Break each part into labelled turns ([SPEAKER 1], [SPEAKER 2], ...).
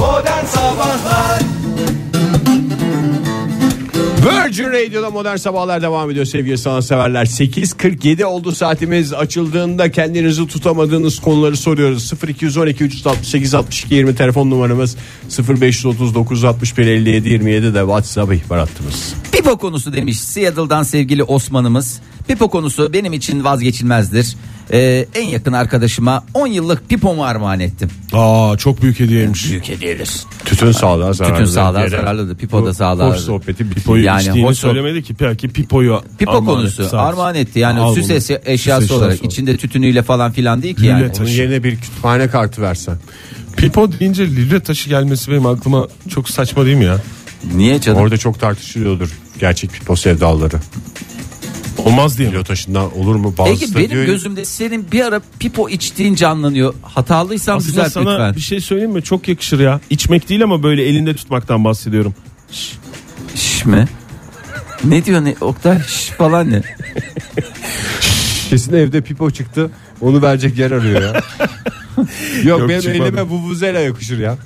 [SPEAKER 1] Modern Sabahlar Virgin Radio'da modern sabahlar devam ediyor sevgili sanatseverler. 8.47 oldu saatimiz açıldığında kendinizi tutamadığınız konuları soruyoruz. 0212 368 62 20 telefon numaramız 0539 61 57 27 de WhatsApp ihbar hattımız.
[SPEAKER 2] Pipo konusu demiş Seattle'dan sevgili Osman'ımız. Pipo konusu benim için vazgeçilmezdir. Ee, en yakın arkadaşıma 10 yıllık pipomu armağan ettim.
[SPEAKER 3] Aa çok büyük hediyeymiş.
[SPEAKER 2] Büyük hediyedir.
[SPEAKER 1] Tütün sağlığa zararlı.
[SPEAKER 2] Tütün sağlığa
[SPEAKER 1] Yere-
[SPEAKER 2] zararlıdır. Pipo da sağlığa.
[SPEAKER 1] Hoş sohbeti bir
[SPEAKER 3] Pipoyu
[SPEAKER 2] Yani
[SPEAKER 3] içtiğini
[SPEAKER 2] hoş-
[SPEAKER 3] söylemedi ki belki pipoyu
[SPEAKER 2] Pipo
[SPEAKER 3] armağan
[SPEAKER 2] konusu
[SPEAKER 3] etti sağ olsun.
[SPEAKER 2] armağan etti. Yani
[SPEAKER 3] Al
[SPEAKER 2] süs
[SPEAKER 3] bunu.
[SPEAKER 2] eşya- eşyası
[SPEAKER 3] Süs
[SPEAKER 2] olarak içinde tütünüyle falan filan değil ki yani.
[SPEAKER 3] Lüle
[SPEAKER 1] Bunun
[SPEAKER 3] taşı.
[SPEAKER 1] yerine bir kütüphane kartı versen.
[SPEAKER 3] Pipo deyince lüle taşı gelmesi benim aklıma çok saçma değil mi ya?
[SPEAKER 2] Niye canım?
[SPEAKER 1] Orada çok tartışılıyordur gerçek pipo sevdaları.
[SPEAKER 3] Olmaz diye mi?
[SPEAKER 1] Kilo taşından olur mu? Bazısı
[SPEAKER 2] Peki
[SPEAKER 1] da
[SPEAKER 2] benim
[SPEAKER 1] diyor-
[SPEAKER 2] gözümde senin bir ara pipo içtiğin canlanıyor. Hatalıysam
[SPEAKER 3] Aslında
[SPEAKER 2] düzelt
[SPEAKER 3] sana
[SPEAKER 2] lütfen.
[SPEAKER 3] bir şey söyleyeyim mi? Çok yakışır ya. İçmek değil ama böyle elinde tutmaktan bahsediyorum. şey-
[SPEAKER 2] Şş mi? Ne diyor ne? Oktay şş falan ne?
[SPEAKER 1] Kesin evde pipo çıktı. Onu verecek yer arıyor ya. Yok,
[SPEAKER 3] Yok,
[SPEAKER 1] benim
[SPEAKER 3] çıkmadı.
[SPEAKER 1] elime vuvuzela yakışır ya.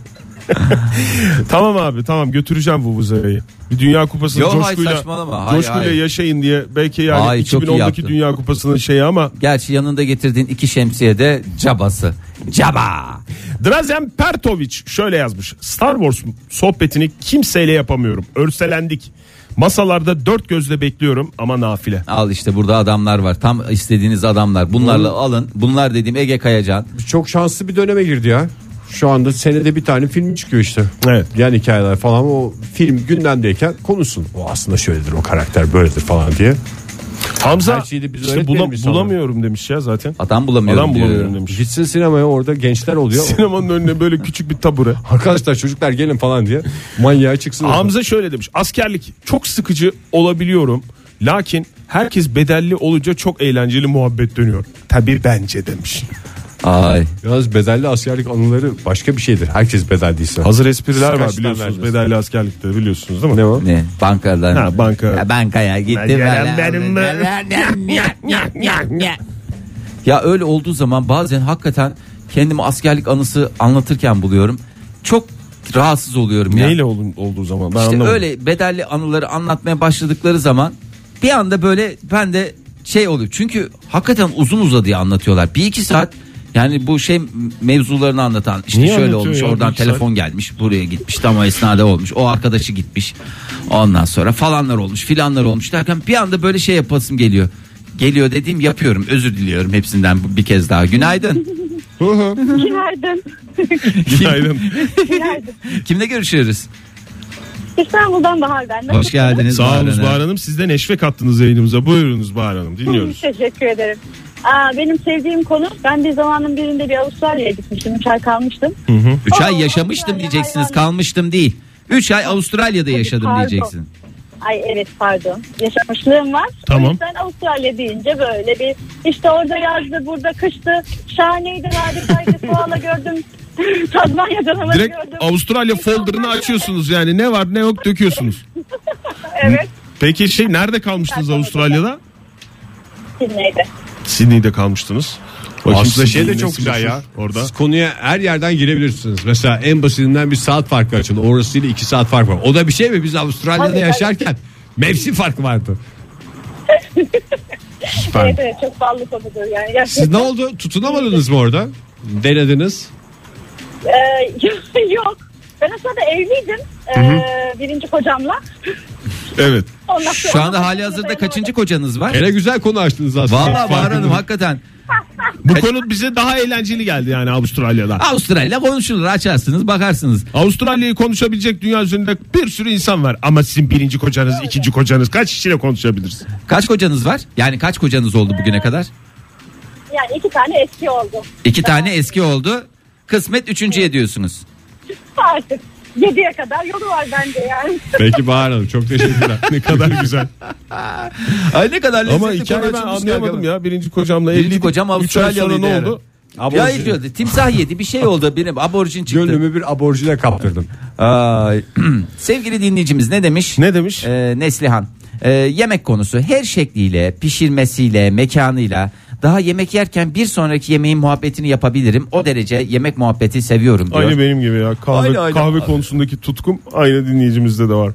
[SPEAKER 3] Tamam abi tamam götüreceğim Vuvuzela'yı. Bir Dünya Kupası'nı
[SPEAKER 2] Yo, hayır,
[SPEAKER 3] coşkuyla,
[SPEAKER 2] saçmalama. Hayır,
[SPEAKER 3] coşkuyla
[SPEAKER 2] hayır.
[SPEAKER 3] yaşayın diye. Belki yani
[SPEAKER 2] Hayır, çok iyi
[SPEAKER 3] 2010'daki
[SPEAKER 2] yaptın.
[SPEAKER 3] Dünya Kupası'nın şeyi ama.
[SPEAKER 2] Gerçi yanında getirdiğin iki şemsiye de cabası. Caba.
[SPEAKER 3] Drazen Pertovic şöyle yazmış. Star Wars sohbetini kimseyle yapamıyorum. Örselendik. Masalarda dört gözle bekliyorum ama nafile.
[SPEAKER 2] Al işte burada adamlar var. Tam istediğiniz adamlar. Bunlarla alın. Bunlar dediğim Ege Kayacan.
[SPEAKER 1] Çok şanslı bir döneme girdi ya. Şu anda senede bir tane film çıkıyor işte.
[SPEAKER 3] Evet.
[SPEAKER 1] Yan hikayeler falan o film gündemdeyken konuşsun. O aslında şöyledir o karakter böyledir falan diye.
[SPEAKER 3] Hamza
[SPEAKER 1] Her şeyi de biz
[SPEAKER 3] işte
[SPEAKER 1] öğretmeyelim
[SPEAKER 3] bula-
[SPEAKER 1] insanlara.
[SPEAKER 3] bulamıyorum demiş ya zaten.
[SPEAKER 2] Adam bulamıyorum
[SPEAKER 3] Adam
[SPEAKER 2] diyor.
[SPEAKER 3] bulamıyorum demiş.
[SPEAKER 1] Gitsin sinemaya orada gençler oluyor.
[SPEAKER 3] Sinemanın önüne böyle küçük bir tabure.
[SPEAKER 1] Arkadaşlar çocuklar gelin falan diye manyağa çıksın.
[SPEAKER 3] Hamza şöyle demiş. Askerlik çok sıkıcı olabiliyorum. Lakin herkes bedelli olunca çok eğlenceli muhabbet dönüyor. Tabii bence demiş.
[SPEAKER 2] Ay.
[SPEAKER 1] Yalnız bedelli askerlik anıları başka bir şeydir. Herkes bedeldiyse.
[SPEAKER 3] Hazır espriler var
[SPEAKER 1] Kaç
[SPEAKER 3] biliyorsunuz
[SPEAKER 1] tane
[SPEAKER 3] bedelli askerlikte biliyorsunuz değil mi?
[SPEAKER 1] Ne o?
[SPEAKER 2] Ne? Bankadan.
[SPEAKER 3] Ha, banka.
[SPEAKER 2] Ya bankaya gittim.
[SPEAKER 3] Gelen benim
[SPEAKER 2] Ya öyle olduğu zaman bazen hakikaten kendimi askerlik anısı anlatırken buluyorum. Çok rahatsız oluyorum ya.
[SPEAKER 3] Neyle olun, olduğu zaman ben
[SPEAKER 2] İşte
[SPEAKER 3] anlamadım.
[SPEAKER 2] öyle bedelli anıları anlatmaya başladıkları zaman bir anda böyle ben de şey oluyor. Çünkü hakikaten uzun uzadıya anlatıyorlar. Bir iki saat yani bu şey mevzularını anlatan işte
[SPEAKER 3] Niye
[SPEAKER 2] şöyle
[SPEAKER 3] anlatıyor
[SPEAKER 2] olmuş
[SPEAKER 3] ya bir
[SPEAKER 2] oradan
[SPEAKER 3] iki
[SPEAKER 2] telefon gelmiş buraya gitmiş tam o esnada olmuş o arkadaşı gitmiş ondan sonra falanlar olmuş filanlar olmuş derken bir anda böyle şey yapasım geliyor. Geliyor dediğim yapıyorum özür diliyorum hepsinden bir kez daha günaydın
[SPEAKER 4] Günaydın.
[SPEAKER 3] Günaydın.
[SPEAKER 4] Günaydın.
[SPEAKER 2] kimle görüşüyoruz
[SPEAKER 4] İstanbul'dan Bahar ben.
[SPEAKER 2] hoş geldiniz
[SPEAKER 3] Sağ
[SPEAKER 2] Bahar
[SPEAKER 3] olun
[SPEAKER 2] Hanım.
[SPEAKER 3] Bahar Hanım. Siz de neşve kattınız yayınımıza. Buyurunuz Bahar Hanım dinliyoruz.
[SPEAKER 4] Teşekkür ederim. Aa, benim sevdiğim konu ben bir zamanın birinde bir Avustralya'ya gitmiştim. Üç ay kalmıştım.
[SPEAKER 2] Üç
[SPEAKER 4] Aa,
[SPEAKER 2] ay yaşamıştım
[SPEAKER 4] Avustralya
[SPEAKER 2] diyeceksiniz
[SPEAKER 4] hayvan.
[SPEAKER 2] kalmıştım değil. 3 ay Avustralya'da yaşadım
[SPEAKER 4] pardon.
[SPEAKER 2] diyeceksin.
[SPEAKER 4] Ay evet pardon. Yaşamışlığım var.
[SPEAKER 3] Tamam.
[SPEAKER 4] O yüzden Avustralya deyince böyle bir işte orada yazdı burada kıştı. Şahaneydi harikaydı. Koala gördüm. Tazmanya canavarı
[SPEAKER 3] Direkt
[SPEAKER 4] gördüm.
[SPEAKER 3] Avustralya folder'ını açıyorsunuz yani ne var ne yok döküyorsunuz.
[SPEAKER 4] Evet.
[SPEAKER 3] Peki şey nerede kalmıştınız Avustralya'da?
[SPEAKER 4] Sydney'de.
[SPEAKER 3] Sydney'de kalmıştınız. Bakayım
[SPEAKER 1] Aslında şey de
[SPEAKER 3] Sydney'in
[SPEAKER 1] çok
[SPEAKER 3] nesi
[SPEAKER 1] güzel ya.
[SPEAKER 3] meşhur Orada.
[SPEAKER 1] Siz konuya her yerden girebilirsiniz. Mesela en basitinden bir saat farkı açıldı. Orasıyla iki saat fark var. O da bir şey mi? Biz Avustralya'da
[SPEAKER 4] Abi,
[SPEAKER 1] yaşarken mevsim farkı vardı. Süper.
[SPEAKER 4] Evet, evet çok ballı konudur yani.
[SPEAKER 1] Siz
[SPEAKER 4] Gerçekten,
[SPEAKER 1] ne oldu? Tutunamadınız mı orada? Denediniz.
[SPEAKER 4] e, yok. Ben aslında evliydim. E, birinci kocamla.
[SPEAKER 3] Evet.
[SPEAKER 4] Ondan sonra-
[SPEAKER 2] Şu anda hali hazırda kaçıncı kocanız var?
[SPEAKER 1] Hele güzel konu açtınız aslında.
[SPEAKER 2] Vallahi Bahar Hanım hakikaten
[SPEAKER 3] Bu konu bize daha eğlenceli geldi yani Avustralya'da.
[SPEAKER 2] Avustralya konuşulur açarsınız bakarsınız.
[SPEAKER 3] Avustralya'yı konuşabilecek dünya üzerinde bir sürü insan var. Ama sizin birinci kocanız, ikinci kocanız kaç kişiyle konuşabilirsiniz?
[SPEAKER 2] Kaç kocanız var? Yani kaç kocanız oldu bugüne kadar?
[SPEAKER 4] Yani iki tane eski oldu.
[SPEAKER 2] İki tane eski oldu. Kısmet üçüncüye diyorsunuz.
[SPEAKER 4] Artık yediye kadar yolu var bence yani.
[SPEAKER 1] Peki Bahar Hanım çok teşekkürler.
[SPEAKER 3] Ne kadar güzel.
[SPEAKER 2] Ay ne kadar
[SPEAKER 3] Ama
[SPEAKER 2] lezzetli
[SPEAKER 3] hikayeyi ben
[SPEAKER 2] konu açılmış
[SPEAKER 3] anlayamadım
[SPEAKER 2] kanka.
[SPEAKER 3] ya. Birinci kocamla
[SPEAKER 2] Birinci
[SPEAKER 3] evliydik.
[SPEAKER 2] kocam
[SPEAKER 3] Üç ay sonra
[SPEAKER 2] Avustralyalıydı
[SPEAKER 3] ne
[SPEAKER 2] yani.
[SPEAKER 3] oldu?
[SPEAKER 2] Ya ediyordu. Timsah yedi bir şey oldu benim aborjin çıktı.
[SPEAKER 1] Gönlümü bir aborjine kaptırdım.
[SPEAKER 2] Ay. Sevgili dinleyicimiz ne demiş?
[SPEAKER 3] Ne demiş?
[SPEAKER 2] e, Ee, Neslihan. Ee, yemek konusu her şekliyle, pişirmesiyle, mekanıyla Daha yemek yerken bir sonraki yemeğin muhabbetini yapabilirim. O derece yemek muhabbeti seviyorum diyor.
[SPEAKER 3] Aynı benim gibi ya. Kahve,
[SPEAKER 1] Aynı, aynı.
[SPEAKER 3] kahve konusundaki tutkum aynı dinleyicimizde de var.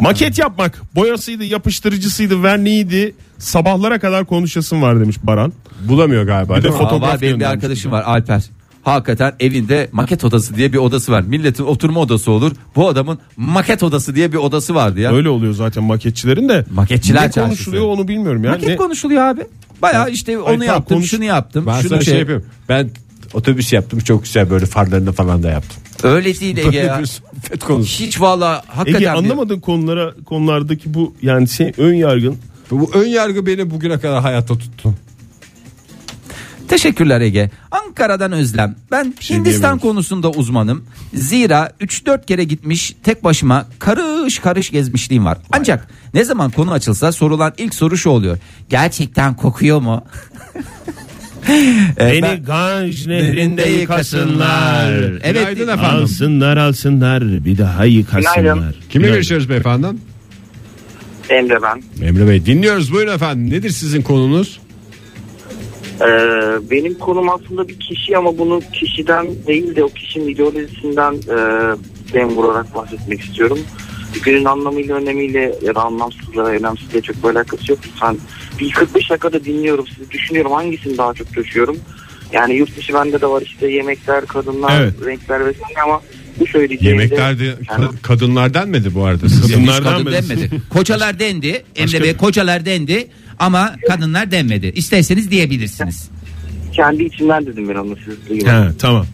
[SPEAKER 3] Maket yapmak. Boyasıydı, yapıştırıcısıydı, verniğiydi. Sabahlara kadar konuşasım var demiş Baran.
[SPEAKER 1] Bulamıyor galiba.
[SPEAKER 3] Bir de
[SPEAKER 1] değil mi?
[SPEAKER 3] foto-
[SPEAKER 2] Aa,
[SPEAKER 3] Fotoğraf
[SPEAKER 2] var benim bir
[SPEAKER 3] göndermiş.
[SPEAKER 2] arkadaşım var Alper. Hakikaten evinde maket odası diye bir odası var. Milletin oturma odası olur. Bu adamın maket odası diye bir odası vardı ya.
[SPEAKER 3] Öyle oluyor zaten maketçilerin de.
[SPEAKER 2] Maketçiler
[SPEAKER 3] ne konuşuluyor
[SPEAKER 2] çarşısı.
[SPEAKER 3] onu bilmiyorum ya.
[SPEAKER 2] Maket
[SPEAKER 3] Ne-
[SPEAKER 2] konuşuluyor abi. Baya işte onu
[SPEAKER 3] tamam,
[SPEAKER 2] yaptım,
[SPEAKER 3] konuş-
[SPEAKER 2] şunu yaptım,
[SPEAKER 1] Ben
[SPEAKER 2] şunu
[SPEAKER 1] sana
[SPEAKER 2] şey.
[SPEAKER 1] şey yapayım. Ben otobüs yaptım çok güzel böyle farlarını falan da yaptım.
[SPEAKER 2] Öyle değil Ege ya.
[SPEAKER 1] Böyle bir sohbet konusu.
[SPEAKER 2] Hiç valla hakikaten.
[SPEAKER 3] şey Ege
[SPEAKER 2] bir-
[SPEAKER 3] anlamadığın konulara konulardaki bu yani şey ön yargın
[SPEAKER 1] Bu ön yargı beni bugüne kadar hayatta tuttu.
[SPEAKER 2] Teşekkürler Ege. Ankara'dan Özlem. Ben
[SPEAKER 3] şey
[SPEAKER 2] Hindistan
[SPEAKER 1] diyemiyoruz.
[SPEAKER 2] konusunda uzmanım. Zira 3-4 kere gitmiş tek başıma karış karış gezmişliğim var. Ancak ne zaman konu açılsa sorulan ilk soru şu oluyor. Gerçekten kokuyor mu? Ee, ben-
[SPEAKER 3] Beni Ganj nehrinde yıkasınlar.
[SPEAKER 2] Evet.
[SPEAKER 1] Günaydın efendim.
[SPEAKER 3] Alsınlar alsınlar bir daha yıkasınlar.
[SPEAKER 5] Günaydın.
[SPEAKER 1] Kimle görüşüyoruz beyefendi?
[SPEAKER 5] Emre ben.
[SPEAKER 1] Emre Bey dinliyoruz buyurun efendim. Nedir sizin konunuz?
[SPEAKER 5] Ee, benim konum aslında bir kişi ama bunu kişiden değil de o kişinin ideolojisinden e, ben vurarak bahsetmek istiyorum. Günün anlamıyla önemiyle ya da anlamsızlara önemsizliğe çok bir alakası yok. Lütfen bir 45 dakikada dinliyorum sizi düşünüyorum hangisini daha çok coşuyorum. Yani yurt dışı bende de var işte yemekler, kadınlar,
[SPEAKER 1] Evet.
[SPEAKER 5] renkler vesaire ama bu söyleyeceğim
[SPEAKER 1] Yemekler de
[SPEAKER 5] Yani-
[SPEAKER 1] ka- kadınlardan mıydı bu arada?
[SPEAKER 2] Hiç
[SPEAKER 3] Kadınlardan
[SPEAKER 2] kadın
[SPEAKER 3] mı?
[SPEAKER 2] denmedi. Kocalar dendi. Emre
[SPEAKER 3] Başka-
[SPEAKER 2] Bey kocalar dendi. Ama kadınlar denmedi. İsterseniz diyebilirsiniz.
[SPEAKER 5] kendi içimden dedim ben onu siz duyun.
[SPEAKER 3] He, tamam.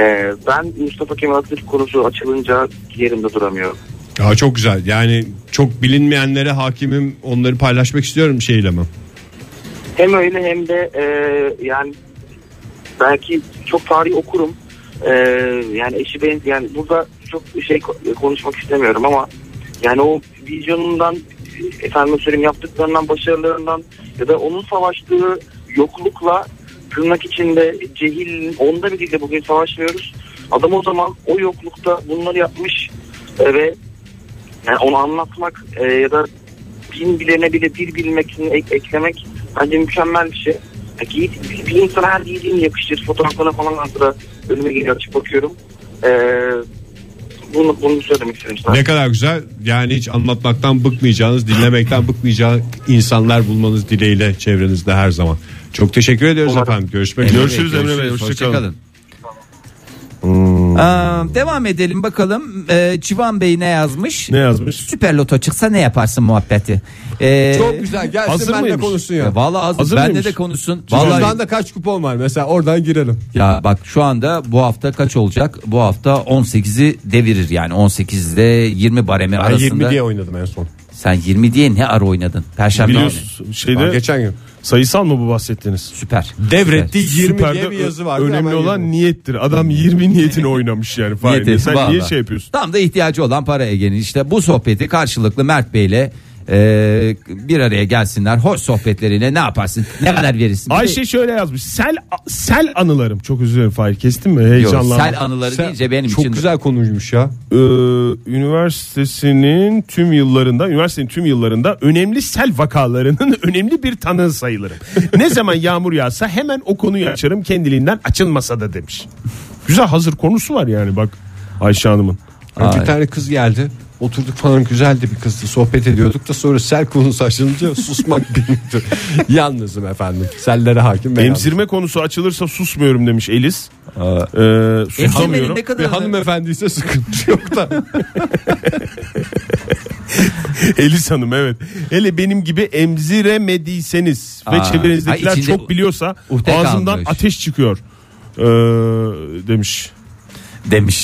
[SPEAKER 5] Ee, ben Mustafa Kemal Atatürk konusu açılınca yerimde duramıyorum.
[SPEAKER 1] Ya çok güzel. Yani çok bilinmeyenlere hakimim. Onları paylaşmak istiyorum şeyle mi?
[SPEAKER 5] Hem öyle hem de e, yani belki çok tarih okurum. E, yani eşi ben yani burada çok şey ko- konuşmak istemiyorum ama yani o vizyonundan efendim söyleyeyim yaptıklarından başarılarından ya da onun savaştığı yoklukla tırnak içinde cehil onda bir dilde bugün savaşmıyoruz. Adam o zaman o yoklukta bunları yapmış e, ve yani onu anlatmak e, ya da bin bilene bile bir bilmekini ek- eklemek bence mükemmel bir şey. Ya Giy, bir insana her giydiğini yakışır. Fotoğraflarına falan hatıra önüme geliyor açıp bakıyorum. E, bunu, bunu söylemek istedim. sana.
[SPEAKER 1] Ne kadar güzel. Yani hiç anlatmaktan bıkmayacağınız, dinlemekten bıkmayacağınız insanlar bulmanız dileğiyle çevrenizde her zaman. Çok teşekkür ediyoruz
[SPEAKER 5] Umarım.
[SPEAKER 1] efendim. Görüşmek
[SPEAKER 2] Emre
[SPEAKER 1] üzere.
[SPEAKER 2] Bey,
[SPEAKER 3] Görüşürüz Emre Bey, hoşça kalın.
[SPEAKER 1] Hmm.
[SPEAKER 2] Aa, devam edelim bakalım. Ee, Civan Bey ne yazmış?
[SPEAKER 3] Ne yazmış?
[SPEAKER 2] Süper loto çıksa ne yaparsın muhabbeti? Ee,
[SPEAKER 1] Çok güzel. Gelsin
[SPEAKER 3] Hazır
[SPEAKER 1] benle
[SPEAKER 3] mıymış?
[SPEAKER 1] konuşsun ya.
[SPEAKER 2] Ya vallahi hazır.
[SPEAKER 3] Hazır
[SPEAKER 2] Bende
[SPEAKER 3] mıymış?
[SPEAKER 2] de konuşsun. Vallahi
[SPEAKER 1] Vallahi... da kaç kupon var mesela oradan girelim.
[SPEAKER 2] ya bak şu anda bu hafta kaç olacak? Bu hafta 18'i devirir yani 18'de 20 baremi
[SPEAKER 1] Ben
[SPEAKER 2] arasında.
[SPEAKER 1] 20 diye oynadım en son.
[SPEAKER 2] Sen 20 diye ne ara oynadın? Perşembe günü.
[SPEAKER 3] Biliyorsun
[SPEAKER 1] Ben
[SPEAKER 3] şeyde
[SPEAKER 1] geçen gün.
[SPEAKER 3] sayısal mı bu bahsettiğiniz?
[SPEAKER 2] Süper.
[SPEAKER 1] Devretti 20
[SPEAKER 3] Süper'de
[SPEAKER 1] diye bir yazı vardı.
[SPEAKER 3] Önemli
[SPEAKER 1] hemen
[SPEAKER 3] olan
[SPEAKER 1] girdim.
[SPEAKER 3] niyettir. Adam 20 niyetini oynamış yani. Fahir.
[SPEAKER 2] Niyet
[SPEAKER 3] Sen
[SPEAKER 2] ettim,
[SPEAKER 3] niye
[SPEAKER 2] vallahi.
[SPEAKER 3] şey yapıyorsun?
[SPEAKER 2] Tam da ihtiyacı olan para Ege'nin. İşte bu sohbeti karşılıklı Mert Bey'le e, bir araya gelsinler. Hoş sohbetleriyle ne yaparsın? Ne kadar verirsin? Bir de-
[SPEAKER 3] Ayşe şöyle yazmış. Sel sel anılarım. Çok özür dilerim Fahir. Kestin mi?
[SPEAKER 2] Yok,
[SPEAKER 3] Heyecanlandım.
[SPEAKER 2] sel anıları
[SPEAKER 1] Sen-
[SPEAKER 2] deyince benim
[SPEAKER 1] Çok
[SPEAKER 2] için
[SPEAKER 1] güzel konuymuş ya.
[SPEAKER 3] Ee, üniversitesinin tüm yıllarında üniversitenin tüm yıllarında önemli sel vakalarının önemli bir tanığı sayılırım. ne zaman yağmur yağsa hemen o konuyu açarım kendiliğinden açılmasa da demiş. Güzel hazır konusu var yani bak Ayşe Hanım'ın.
[SPEAKER 1] Bir tane kız geldi. Oturduk falan güzeldi bir kızdı. Sohbet ediyorduk da sonra sel konusu açılınca susmak benimdir. Yalnızım efendim. Sellere hakim. ve yalnızım.
[SPEAKER 3] Emzirme konusu açılırsa susmuyorum demiş Elis. Ee,
[SPEAKER 2] Emzirmenin
[SPEAKER 3] susamıyorum.
[SPEAKER 2] ne kadar
[SPEAKER 1] Bir hanımefendi ise sıkıntı yok da.
[SPEAKER 3] Elis Hanım evet. Hele benim gibi emziremediyseniz ve
[SPEAKER 2] Aa,
[SPEAKER 3] çevrenizdekiler
[SPEAKER 2] ay içinde
[SPEAKER 3] çok biliyorsa
[SPEAKER 2] uhde
[SPEAKER 3] ağzından
[SPEAKER 2] kalmış.
[SPEAKER 3] ateş çıkıyor ee, demiş.
[SPEAKER 2] demiş.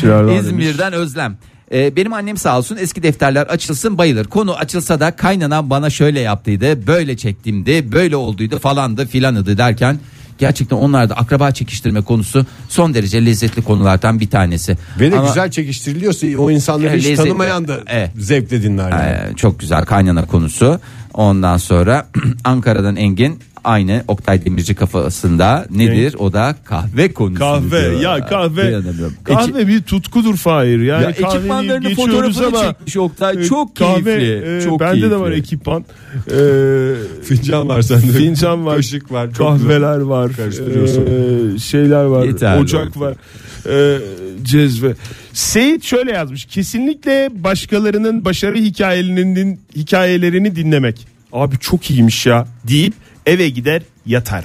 [SPEAKER 3] Şeyler var
[SPEAKER 2] İzmir'den Özlem. Ee, benim annem sağ olsun eski defterler açılsın bayılır. Konu açılsa da kaynanam bana şöyle yaptıydı, böyle çektimdi, böyle olduydu falandı filanıdı derken gerçekten onlar da akraba çekiştirme konusu son derece lezzetli konulardan bir tanesi.
[SPEAKER 1] Ve de
[SPEAKER 2] Ama,
[SPEAKER 1] güzel çekiştiriliyorsa o insanları hiç
[SPEAKER 2] Lezzetli.
[SPEAKER 1] tanımayan da
[SPEAKER 2] Evet. Ee,
[SPEAKER 1] zevkle dinler. yani.
[SPEAKER 2] e, çok güzel kaynana konusu. Ondan sonra Ankara'dan Engin aynı Oktay Demirci kafasında nedir? O da kahve Ee, konusu.
[SPEAKER 3] Kahve ya kahve. Kahve bir tutkudur Fahir. Yani
[SPEAKER 2] Ya
[SPEAKER 3] kahve
[SPEAKER 2] ekipmanlarının
[SPEAKER 3] deyip geçiyoruz
[SPEAKER 2] fotoğrafını
[SPEAKER 3] ama,
[SPEAKER 2] çekmiş Oktay.
[SPEAKER 3] e,
[SPEAKER 2] çok
[SPEAKER 3] kahve,
[SPEAKER 2] keyifli.
[SPEAKER 3] e,
[SPEAKER 2] çok
[SPEAKER 3] bende
[SPEAKER 2] keyifli.
[SPEAKER 3] de var ekipman. E,
[SPEAKER 1] Fincan var sende.
[SPEAKER 3] Fincan var.
[SPEAKER 1] Kaşık var. Çok güzel.
[SPEAKER 3] kahveler var.
[SPEAKER 1] Karıştırıyorsun.
[SPEAKER 3] e, şeyler var.
[SPEAKER 2] Yeterli
[SPEAKER 3] ocak
[SPEAKER 2] oldu.
[SPEAKER 3] var. E, cezve. Seyit şöyle yazmış. Kesinlikle başkalarının başarı hikayelerinin hikayelerini dinlemek. Abi çok iyiymiş ya deyip eve gider yatar.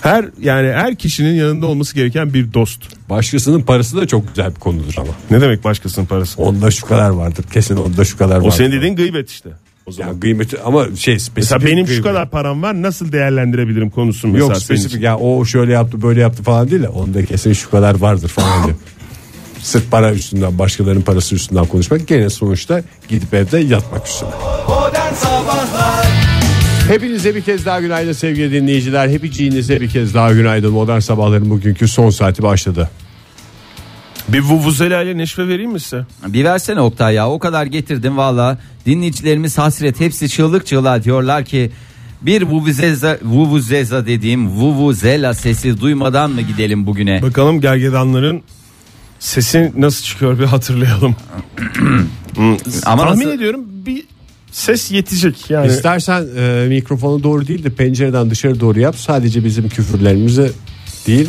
[SPEAKER 3] her yani her kişinin yanında olması gereken bir dost.
[SPEAKER 1] Başkasının parası da çok güzel bir konudur ama.
[SPEAKER 3] Ne demek başkasının parası?
[SPEAKER 1] Onda şu kadar vardır. Kesin onda şu kadar vardır.
[SPEAKER 3] O senin dediğin gıybet işte. O
[SPEAKER 1] Ya
[SPEAKER 3] zaman.
[SPEAKER 1] kıymeti ama şey
[SPEAKER 3] mesela
[SPEAKER 1] spesifik
[SPEAKER 3] benim şu
[SPEAKER 1] kıymeti.
[SPEAKER 3] kadar param var nasıl değerlendirebilirim konusu mesela
[SPEAKER 1] Yok
[SPEAKER 3] senin için.
[SPEAKER 1] spesifik ya o şöyle yaptı böyle yaptı falan değil de onda kesin şu kadar vardır falan diye. Sırf para üstünden başkalarının parası üstünden konuşmak gene sonuçta gidip evde yatmak üstüne. Hepinize bir kez daha günaydın sevgili dinleyiciler. Hepiciğinize bir kez daha günaydın. Modern Sabahların bugünkü son saati başladı.
[SPEAKER 3] Bir vuvuzela ile neşve vereyim mi size?
[SPEAKER 2] Bir versene Oktay ya o kadar getirdim valla. Dinleyicilerimiz hasret hepsi çığlık çığlığa diyorlar ki bir vuvuzeza, vuvuzeza dediğim vuvuzela sesi duymadan mı gidelim bugüne?
[SPEAKER 3] Bakalım gergedanların sesi nasıl çıkıyor bir hatırlayalım.
[SPEAKER 2] Ama
[SPEAKER 3] Tahmin
[SPEAKER 2] nasıl-
[SPEAKER 3] ediyorum bir ses yetecek yani.
[SPEAKER 1] İstersen e, mikrofonu doğru değil de pencereden dışarı doğru yap. Sadece bizim küfürlerimizi değil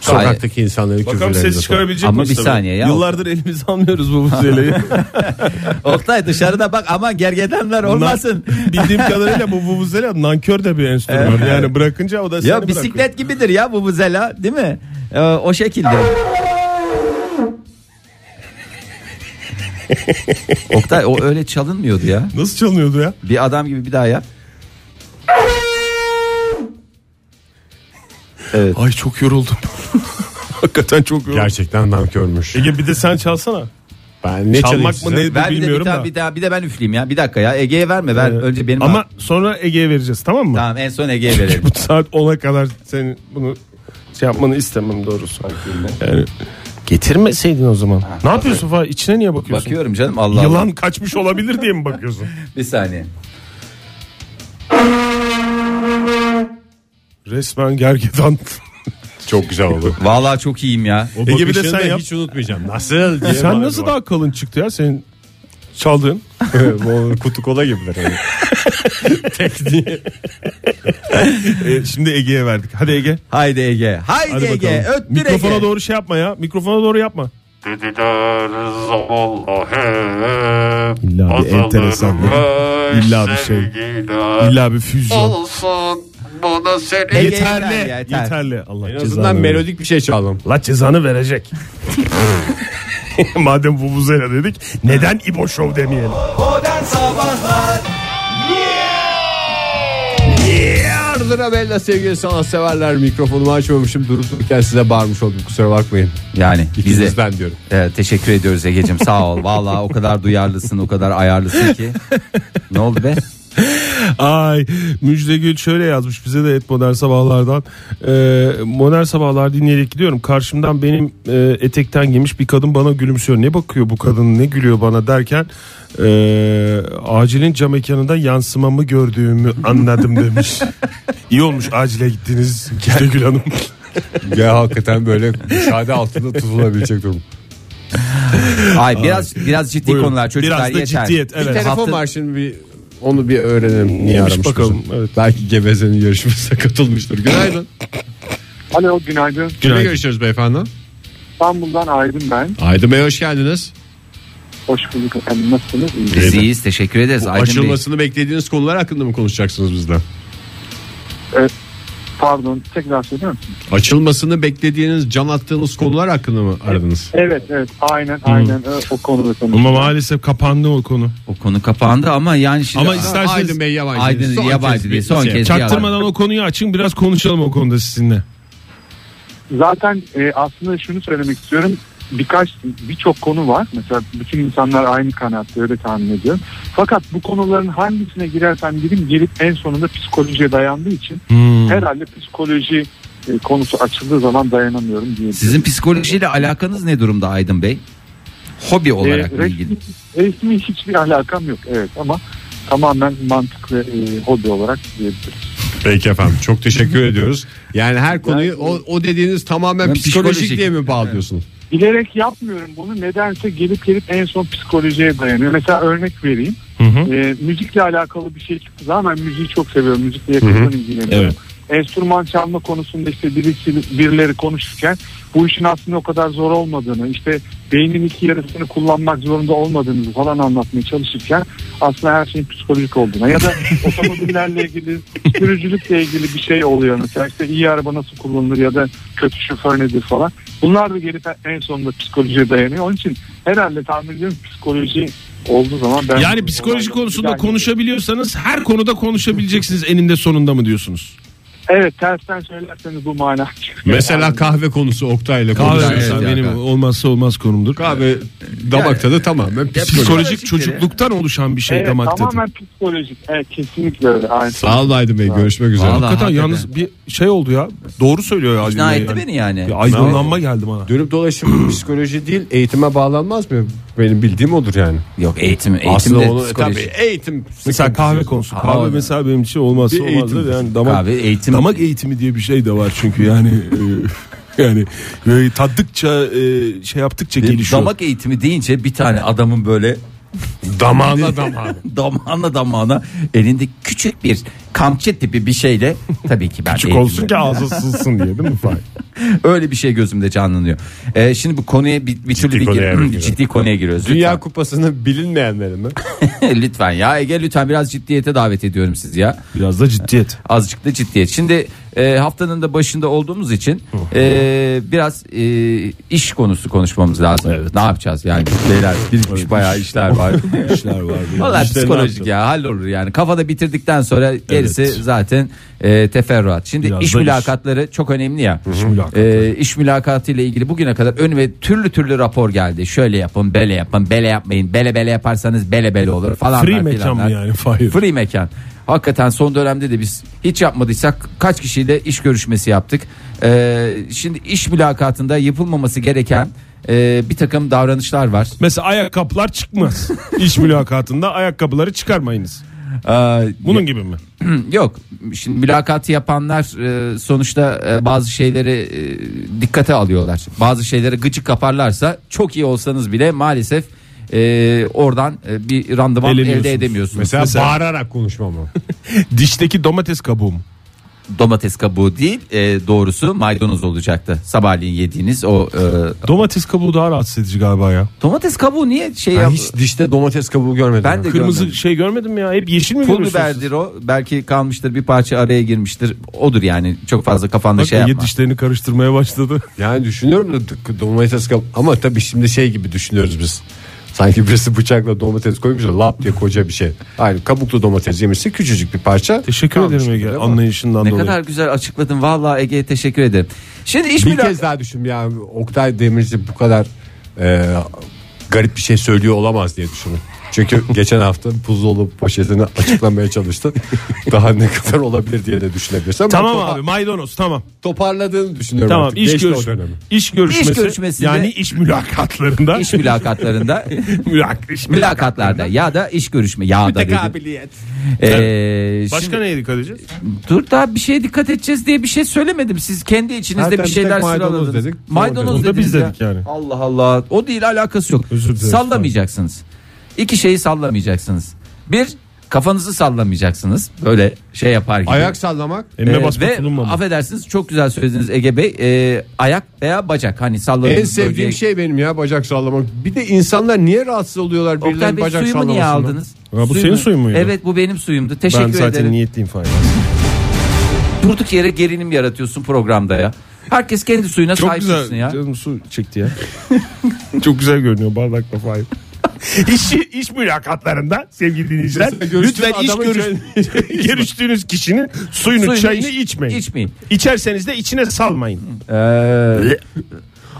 [SPEAKER 1] sokaktaki insanların
[SPEAKER 3] Bakalım
[SPEAKER 1] küfürlerini. de
[SPEAKER 3] ses
[SPEAKER 1] sor.
[SPEAKER 3] çıkarabilecek
[SPEAKER 2] Ama
[SPEAKER 3] miyiz
[SPEAKER 2] bir
[SPEAKER 3] tabii?
[SPEAKER 2] saniye ya.
[SPEAKER 3] Yıllardır elimize almıyoruz vuvuzeleyi.
[SPEAKER 2] Oktay dışarıda bak aman gergedanlar olmasın.
[SPEAKER 3] Bildiğim kadarıyla bu vuvuzela nankör de bir enstrüman. Yani bırakınca o da seni
[SPEAKER 2] ya
[SPEAKER 3] bırakıyor.
[SPEAKER 2] bisiklet gibidir ya vuvuzela değil mi? Ee, o şekilde. Oktay o öyle çalınmıyordu ya.
[SPEAKER 3] Nasıl çalınıyordu ya?
[SPEAKER 2] Bir adam gibi bir daha yap.
[SPEAKER 3] Ay çok yoruldum. Hakikaten çok yoruldum.
[SPEAKER 1] Gerçekten nankörmüş.
[SPEAKER 3] Ege bir de sen çalsana.
[SPEAKER 1] Ben ne
[SPEAKER 3] Çalmak
[SPEAKER 1] çalayım
[SPEAKER 3] mı
[SPEAKER 1] size?
[SPEAKER 3] ne-
[SPEAKER 2] Ver bir de bir
[SPEAKER 3] Bilmiyorum
[SPEAKER 2] daha,
[SPEAKER 3] da.
[SPEAKER 2] bir daha bir de ben üfleyeyim ya. Bir dakika ya. Ege'ye verme. Ver önce benim.
[SPEAKER 3] Ama sonra Ege'ye vereceğiz tamam mı?
[SPEAKER 2] Tamam en son Ege'ye verelim.
[SPEAKER 3] Bu saat 10'a kadar senin bunu şey yapmanı istemem doğrusu. Yani getirmeseydin o zaman. ne yapıyorsun falan? İçine niye bakıyorsun?
[SPEAKER 2] Bakıyorum canım Allah Allah.
[SPEAKER 3] Yılan kaçmış olabilir diye mi bakıyorsun?
[SPEAKER 2] Bir saniye.
[SPEAKER 3] Resmen gergedan.
[SPEAKER 1] Çok güzel oldu.
[SPEAKER 2] Vallahi çok iyiyim ya.
[SPEAKER 3] Ege bir de sen yap.
[SPEAKER 1] Hiç unutmayacağım. Nasıl?
[SPEAKER 3] sen nasıl daha kalın çıktı ya senin çaldığın?
[SPEAKER 1] kutu kola gibiler.
[SPEAKER 3] E, şimdi Ege'ye verdik. Hadi Ege.
[SPEAKER 2] Haydi Ege. Haydi
[SPEAKER 3] Hadi
[SPEAKER 2] Ege.
[SPEAKER 3] bakalım.
[SPEAKER 2] Öttür
[SPEAKER 3] Mikrofona
[SPEAKER 2] Ege.
[SPEAKER 3] doğru şey yapma ya. Mikrofona doğru yapma.
[SPEAKER 6] Dediler Allah'ım
[SPEAKER 3] İlla bir enteresanlık. İlla bir şey. İlla bir şey. füzyon.
[SPEAKER 6] Olsun bu da senin
[SPEAKER 2] Ege
[SPEAKER 3] Yeterli.
[SPEAKER 2] yeter,
[SPEAKER 3] Yeterli.
[SPEAKER 2] yeter.
[SPEAKER 3] Allah
[SPEAKER 1] En azından melodik bir şey çalalım.
[SPEAKER 3] La cezanı verecek. Madem vuvuzela dedik neden İbo Show demeyelim?
[SPEAKER 1] Ardına bella E, sevgili sanatseverler mikrofonumu açmamışım durup dururken size bağırmış oldum kusura bakmayın.
[SPEAKER 2] Yani bize
[SPEAKER 1] İkinizden diyorum.
[SPEAKER 2] e, teşekkür ediyoruz Ege'cim sağ ol. Vallahi o kadar duyarlısın o kadar ayarlısın ki. Ne oldu be?
[SPEAKER 3] Ay Müjde Gül şöyle yazmış bize de et modern sabahlardan. Ee, modern sabahlar dinleyerek gidiyorum. Karşımdan benim e, etekten giymiş bir kadın bana gülümsüyor. Ne bakıyor bu kadın ne gülüyor bana derken e, acilin cam mekanında yansımamı gördüğümü anladım demiş. İyi olmuş acile gittiniz Müjde Gül Hanım.
[SPEAKER 1] Ya hakikaten böyle müsaade altında tutulabilecek durum.
[SPEAKER 2] Ay biraz biraz ciddi
[SPEAKER 3] Buyurun.
[SPEAKER 2] konular çocuklar
[SPEAKER 3] Biraz da
[SPEAKER 2] yeter.
[SPEAKER 3] ciddiyet,
[SPEAKER 1] Bir
[SPEAKER 3] evet.
[SPEAKER 1] telefon
[SPEAKER 2] Hafta-
[SPEAKER 1] var şimdi bir onu bir öğrenelim. Niye
[SPEAKER 3] Neymiş
[SPEAKER 1] aramış
[SPEAKER 3] bakalım,
[SPEAKER 1] bizi.
[SPEAKER 3] evet.
[SPEAKER 1] Belki gevezenin yarışmasına katılmıştır. Günaydın.
[SPEAKER 7] Alo günaydın.
[SPEAKER 1] Günaydın. görüşürüz beyefendi.
[SPEAKER 7] İstanbul'dan Aydın ben.
[SPEAKER 1] Aydın Bey hoş geldiniz.
[SPEAKER 7] Hoş bulduk efendim. Nasılsınız? İyi.
[SPEAKER 2] Biz iyiyiz teşekkür ederiz. Aydın Bey.
[SPEAKER 1] Açılmasını beklediğiniz konular hakkında mı konuşacaksınız bizden?
[SPEAKER 7] Pardon tekrar söyler misin?
[SPEAKER 1] Açılmasını beklediğiniz, can attığınız konular hakkında mı aradınız?
[SPEAKER 7] Evet evet aynen
[SPEAKER 2] Hmm.
[SPEAKER 7] aynen Ö, o konuda konuşuyoruz.
[SPEAKER 3] Ama maalesef kapandı o konu.
[SPEAKER 2] O konu kapandı ama yani şimdi
[SPEAKER 3] Ama isterseniz
[SPEAKER 1] Aydın Bey yabancı.
[SPEAKER 2] Aydın
[SPEAKER 1] Son
[SPEAKER 2] yabancı
[SPEAKER 1] kez
[SPEAKER 2] diye
[SPEAKER 1] bir
[SPEAKER 2] son
[SPEAKER 1] şey.
[SPEAKER 2] kez yalan.
[SPEAKER 3] Çaktırmadan o konuyu açın biraz konuşalım o konuda sizinle.
[SPEAKER 7] Zaten e, aslında şunu söylemek istiyorum. Birkaç birçok konu var. Mesela bütün insanlar aynı kanaatte öyle tahmin ediyorum. Fakat bu konuların hangisine girersem gireyim gelip en sonunda psikolojiye dayandığı için
[SPEAKER 3] Hmm.
[SPEAKER 2] Hmm.
[SPEAKER 7] herhalde psikoloji e, konusu açıldığı zaman dayanamıyorum diyebilirim.
[SPEAKER 2] Sizin psikolojiyle alakanız ne durumda Aydın Bey? Hobi
[SPEAKER 7] Ee,
[SPEAKER 2] olarak mı
[SPEAKER 7] resmi-
[SPEAKER 2] ilgili.
[SPEAKER 7] Resmi hiçbir alakam yok evet ama tamamen mantık ve e, hobi e, olarak diyebiliriz.
[SPEAKER 1] Peki efendim çok teşekkür ediyoruz. Yani her konuyu o, o dediğiniz tamamen
[SPEAKER 2] Ben
[SPEAKER 1] psikolojik,
[SPEAKER 2] psikolojik.
[SPEAKER 1] diye mi bağlıyorsunuz?
[SPEAKER 7] Bilerek yapmıyorum bunu. Nedense gelip gelip en son psikolojiye dayanıyor. Mesela örnek vereyim. Ee, müzikle alakalı bir şey çıktı. Zaten müziği çok seviyorum. Müzikle yakından ilgileniyorum.
[SPEAKER 3] Evet.
[SPEAKER 7] Enstrüman çalma konusunda işte birisi, birileri konuşurken bu işin aslında o kadar zor olmadığını, işte beynin iki yarısını kullanmak zorunda olmadığını falan anlatmaya çalışırken aslında her şeyin psikolojik olduğuna ya da otomobillerle ilgili, sürücülükle ilgili bir şey oluyor mesela işte iyi araba nasıl kullanılır ya da kötü şoför nedir falan. Bunlar da gelip en sonunda psikolojiye dayanıyor. Onun için herhalde tahmin ediyorum psikoloji olduğu zaman ben
[SPEAKER 3] Yani psikoloji konusunda konuşabiliyorsanız her konuda konuşabileceksiniz eninde sonunda mı diyorsunuz?
[SPEAKER 7] Evet tersten söylerseniz bu mana çıkıyor.
[SPEAKER 1] Mesela kahve konusu Oktay'la
[SPEAKER 3] Kahve
[SPEAKER 1] konuşuyoruz.
[SPEAKER 3] mesela
[SPEAKER 2] evet,
[SPEAKER 3] benim
[SPEAKER 2] evet.
[SPEAKER 3] olmazsa olmaz konumdur.
[SPEAKER 1] Kahve damak tadı tamamen psikolojik.
[SPEAKER 3] Psikolojik çocukluktan oluşan bir şey
[SPEAKER 7] Evet,
[SPEAKER 3] damak tadı.
[SPEAKER 7] tamamen psikolojik. Evet kesinlikle öyle. Aynen.
[SPEAKER 1] Sağ ol Aydın Bey görüşmek üzere.
[SPEAKER 2] Vallahi
[SPEAKER 3] Hakikaten
[SPEAKER 2] hakikaten.
[SPEAKER 3] yalnız bir şey oldu ya. Doğru söylüyor ya.
[SPEAKER 2] İkna
[SPEAKER 3] Aydın Bey
[SPEAKER 2] etti beni yani.
[SPEAKER 3] Bir aydınlanma geldi bana.
[SPEAKER 1] Dönüp dolaşıp psikoloji değil eğitime bağlanmaz mı? Benim bildiğim odur yani.
[SPEAKER 2] Yok eğitim, eğitim
[SPEAKER 1] Aslında
[SPEAKER 2] de
[SPEAKER 1] onu
[SPEAKER 2] psikoloji.
[SPEAKER 1] tabii eğitim.
[SPEAKER 3] Mesela kahve konusu. Kahve
[SPEAKER 2] Kahve.
[SPEAKER 3] mesela benim için olmazsa
[SPEAKER 1] Bir
[SPEAKER 3] olmazdı.
[SPEAKER 1] eğitim.
[SPEAKER 3] Yani damak,
[SPEAKER 2] Kahve eğitim.
[SPEAKER 3] damak eğitimi diye bir şey de var çünkü yani e, yani böyle tattıkça e, şey yaptıkça gelişiyor.
[SPEAKER 2] Damak eğitimi deyince bir tane adamın böyle
[SPEAKER 1] Damağına damağına.
[SPEAKER 2] damağına damağına elinde küçük bir kamçı tipi bir şeyle tabii ki ben
[SPEAKER 3] Küçük
[SPEAKER 2] eğitim-
[SPEAKER 3] olsun ki ağzı sızsın diye değil mi Fahir?
[SPEAKER 2] Öyle bir şey gözümde canlanıyor. Ee, şimdi bu konuya bir, bir türlü bir
[SPEAKER 1] konuya
[SPEAKER 2] gir-
[SPEAKER 1] giriyoruz.
[SPEAKER 2] ciddi konuya giriyoruz.
[SPEAKER 1] Dünya Kupası'nın bilinmeyenleri mi?
[SPEAKER 2] Lütfen. lütfen ya Ege lütfen biraz ciddiyete davet ediyorum sizi ya.
[SPEAKER 3] Biraz da ciddiyet.
[SPEAKER 2] Azıcık da ciddiyet. Şimdi e, haftanın da başında olduğumuz için e, biraz e, iş konusu konuşmamız lazım. Ne yapacağız yani beyler birikmiş bayağı işler var.
[SPEAKER 3] İşler var.
[SPEAKER 2] Vallahi
[SPEAKER 3] İşler ne
[SPEAKER 2] psikolojik
[SPEAKER 3] yapacağız?
[SPEAKER 2] ya hallolur yani. Kafada bitirdikten sonra gerisi
[SPEAKER 3] Evet.
[SPEAKER 2] zaten e, teferruat. Şimdi
[SPEAKER 3] Biraz
[SPEAKER 2] iş
[SPEAKER 3] da iş.
[SPEAKER 2] mülakatları çok önemli ya. İş
[SPEAKER 3] mülakatları.
[SPEAKER 2] iş mülakatı ile ilgili bugüne kadar önüme türlü türlü rapor geldi. Şöyle yapın, böyle yapın, bele yapmayın. Bele bele yaparsanız bele bele olur falan.
[SPEAKER 3] Free mekan mı yani Fahir?
[SPEAKER 2] Free mekan. Hakikaten son dönemde de biz hiç yapmadıysak kaç kişiyle iş görüşmesi yaptık. E, şimdi iş mülakatında yapılmaması gereken e, bir takım davranışlar var.
[SPEAKER 3] Mesela ayakkabılar çıkmaz. İş mülakatında ayakkabıları çıkarmayınız.
[SPEAKER 2] E,
[SPEAKER 3] Bunun gibi mi?
[SPEAKER 2] Yok şimdi mülakatı yapanlar e, sonuçta e, bazı şeyleri e, dikkate alıyorlar. Bazı şeylere gıcık kaparlarsa çok iyi olsanız bile maalesef e, oradan e, bir randıman
[SPEAKER 3] Eleniyorsunuz.
[SPEAKER 2] elde edemiyorsunuz.
[SPEAKER 1] Mesela, bağırarak konuşma mı?
[SPEAKER 3] Dişteki domates kabuğu mu?
[SPEAKER 2] domates kabuğu değil e, doğrusu maydanoz olacaktı. Sabahleyin yediğiniz o e,
[SPEAKER 3] Domates kabuğu daha rahatsız edici galiba ya.
[SPEAKER 2] domates kabuğu niye şey
[SPEAKER 1] Ben
[SPEAKER 2] yap-
[SPEAKER 1] hiç dişte domates kabuğu görmedim.
[SPEAKER 2] Ben de
[SPEAKER 3] Kırmızı
[SPEAKER 2] görmedim.
[SPEAKER 3] şey görmedim ya. Hep yeşil mi
[SPEAKER 2] Pul
[SPEAKER 3] görüyorsunuz?
[SPEAKER 2] biberdir o. Belki kalmıştır bir parça araya girmiştir. Odur yani. Çok fazla kafanda
[SPEAKER 3] Bak
[SPEAKER 2] şey
[SPEAKER 3] Ege
[SPEAKER 2] yapma.
[SPEAKER 3] dişlerini karıştırmaya başladı.
[SPEAKER 1] Yani düşünüyorum da d- domates kab- ama tabii şimdi şey gibi düşünüyoruz biz. Sanki birisi bıçakla domates koymuş da lap diye koca bir şey. Hayır kabuklu domates yemişse küçücük bir parça.
[SPEAKER 3] Teşekkür
[SPEAKER 1] kalmış
[SPEAKER 3] ederim Ege
[SPEAKER 1] böyle ama
[SPEAKER 3] anlayışından
[SPEAKER 2] Ne
[SPEAKER 3] dolayı.
[SPEAKER 2] kadar güzel açıkladın. Vallahi Ege'ye teşekkür ederim. Şimdi iş
[SPEAKER 1] Bir
[SPEAKER 2] mülakat-
[SPEAKER 1] kez daha düşün ya Oktay Demirci bu kadar e, garip bir şey söylüyor olamaz diye düşünün. Çünkü geçen hafta buzdolabı poşetini açıklamaya çalıştı. Daha ne kadar olabilir diye de düşünebilirsin. Ama
[SPEAKER 3] Tamam
[SPEAKER 1] topa-
[SPEAKER 3] abi maydanoz tamam.
[SPEAKER 1] Toparladığını düşünüyorum.
[SPEAKER 3] Tamam
[SPEAKER 1] artık.
[SPEAKER 3] iş,
[SPEAKER 1] Geçti o
[SPEAKER 3] görüş,
[SPEAKER 1] dönemi.
[SPEAKER 3] iş görüşmesi.
[SPEAKER 2] İş görüşmesinde-
[SPEAKER 3] yani iş mülakatlarında.
[SPEAKER 2] iş mülakatlarında
[SPEAKER 3] mülak, iş
[SPEAKER 2] mülakatlarda ya da iş görüşme ya da dedim. Ee,
[SPEAKER 3] Başka
[SPEAKER 2] şimdi,
[SPEAKER 3] neye dikkat edeceğiz?
[SPEAKER 2] dur daha bir şeye dikkat edeceğiz diye bir şey söylemedim. Siz kendi içinizde bir
[SPEAKER 1] Zaten bir tek
[SPEAKER 2] şeyler
[SPEAKER 1] maydanoz
[SPEAKER 2] sıraladınız.
[SPEAKER 1] dedik,
[SPEAKER 2] maydanoz
[SPEAKER 1] domates.
[SPEAKER 3] Onu da biz
[SPEAKER 2] dediniz ya.
[SPEAKER 3] dedik yani.
[SPEAKER 2] Allah Allah. O değil alakası yok.
[SPEAKER 3] Özür dileriz.
[SPEAKER 2] Sallamayacaksınız. İki şeyi sallamayacaksınız. Bir kafanızı sallamayacaksınız. Böyle şey yapar gibi.
[SPEAKER 1] Ayak sallamak.
[SPEAKER 3] Elime
[SPEAKER 2] Ee,
[SPEAKER 3] basma
[SPEAKER 2] ve
[SPEAKER 3] bulunmamalı.
[SPEAKER 2] affedersiniz çok güzel söylediniz Ege Bey. Ee, ayak veya bacak hani salladığınız
[SPEAKER 1] En sevdiğim
[SPEAKER 2] bölgeye-
[SPEAKER 1] şey benim ya bacak sallamak. Bir de insanlar niye rahatsız oluyorlar
[SPEAKER 2] Oktay
[SPEAKER 1] birilerinin
[SPEAKER 2] Bey
[SPEAKER 1] bacak
[SPEAKER 2] suyumu niye
[SPEAKER 1] sallamasından?
[SPEAKER 2] aldınız?
[SPEAKER 3] Ya bu senin suyun muydu?
[SPEAKER 2] Evet bu benim suyumdu. Teşekkür
[SPEAKER 3] Ben zaten
[SPEAKER 2] ederim.
[SPEAKER 3] niyetliyim Fahir.
[SPEAKER 2] Durduk yere gerilim yaratıyorsun programda ya. Herkes kendi suyuna
[SPEAKER 3] Çok
[SPEAKER 2] sahip çıksın
[SPEAKER 3] güzel
[SPEAKER 2] ya.
[SPEAKER 3] canım su çekti ya. Çok güzel görünüyor bardakla Fahir. iş, iş mülakatlarında sevgili dinleyiciler
[SPEAKER 1] Görüştüğün
[SPEAKER 3] lütfen iş
[SPEAKER 1] adamın
[SPEAKER 3] görüş, görüştüğünüz kişinin suyunu,
[SPEAKER 2] Suyunu
[SPEAKER 3] çayını
[SPEAKER 2] iç-
[SPEAKER 3] içmeyin.
[SPEAKER 2] içmeyin.
[SPEAKER 3] İçerseniz de içine salmayın.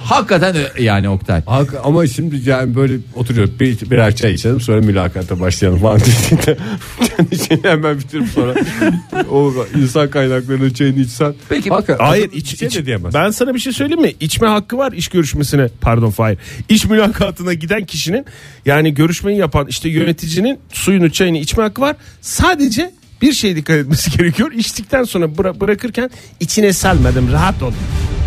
[SPEAKER 2] Hakikaten ö- yani Oktay.
[SPEAKER 1] Halk- ama şimdi yani böyle oturuyoruz bir, birer çay içelim sonra mülakata başlayalım falan dediğinde kendi şeyini hemen bitirip sonra o insan kaynaklarının çayını içsen
[SPEAKER 2] Peki-
[SPEAKER 1] Hakikaten
[SPEAKER 3] Hayır
[SPEAKER 1] adam
[SPEAKER 3] iç,
[SPEAKER 1] içe
[SPEAKER 3] iç-
[SPEAKER 1] de diyemez.
[SPEAKER 3] Ben sana bir şey söyleyeyim mi? İçme hakkı var iş görüşmesine. Pardon Fahir. İş mülakatına giden kişinin yani görüşmeyi yapan işte yöneticinin suyunu çayını içme hakkı var. Sadece Bir şey dikkat etmesi gerekiyor. İçtikten sonra bıra- bırakırken içine salmadım rahat ol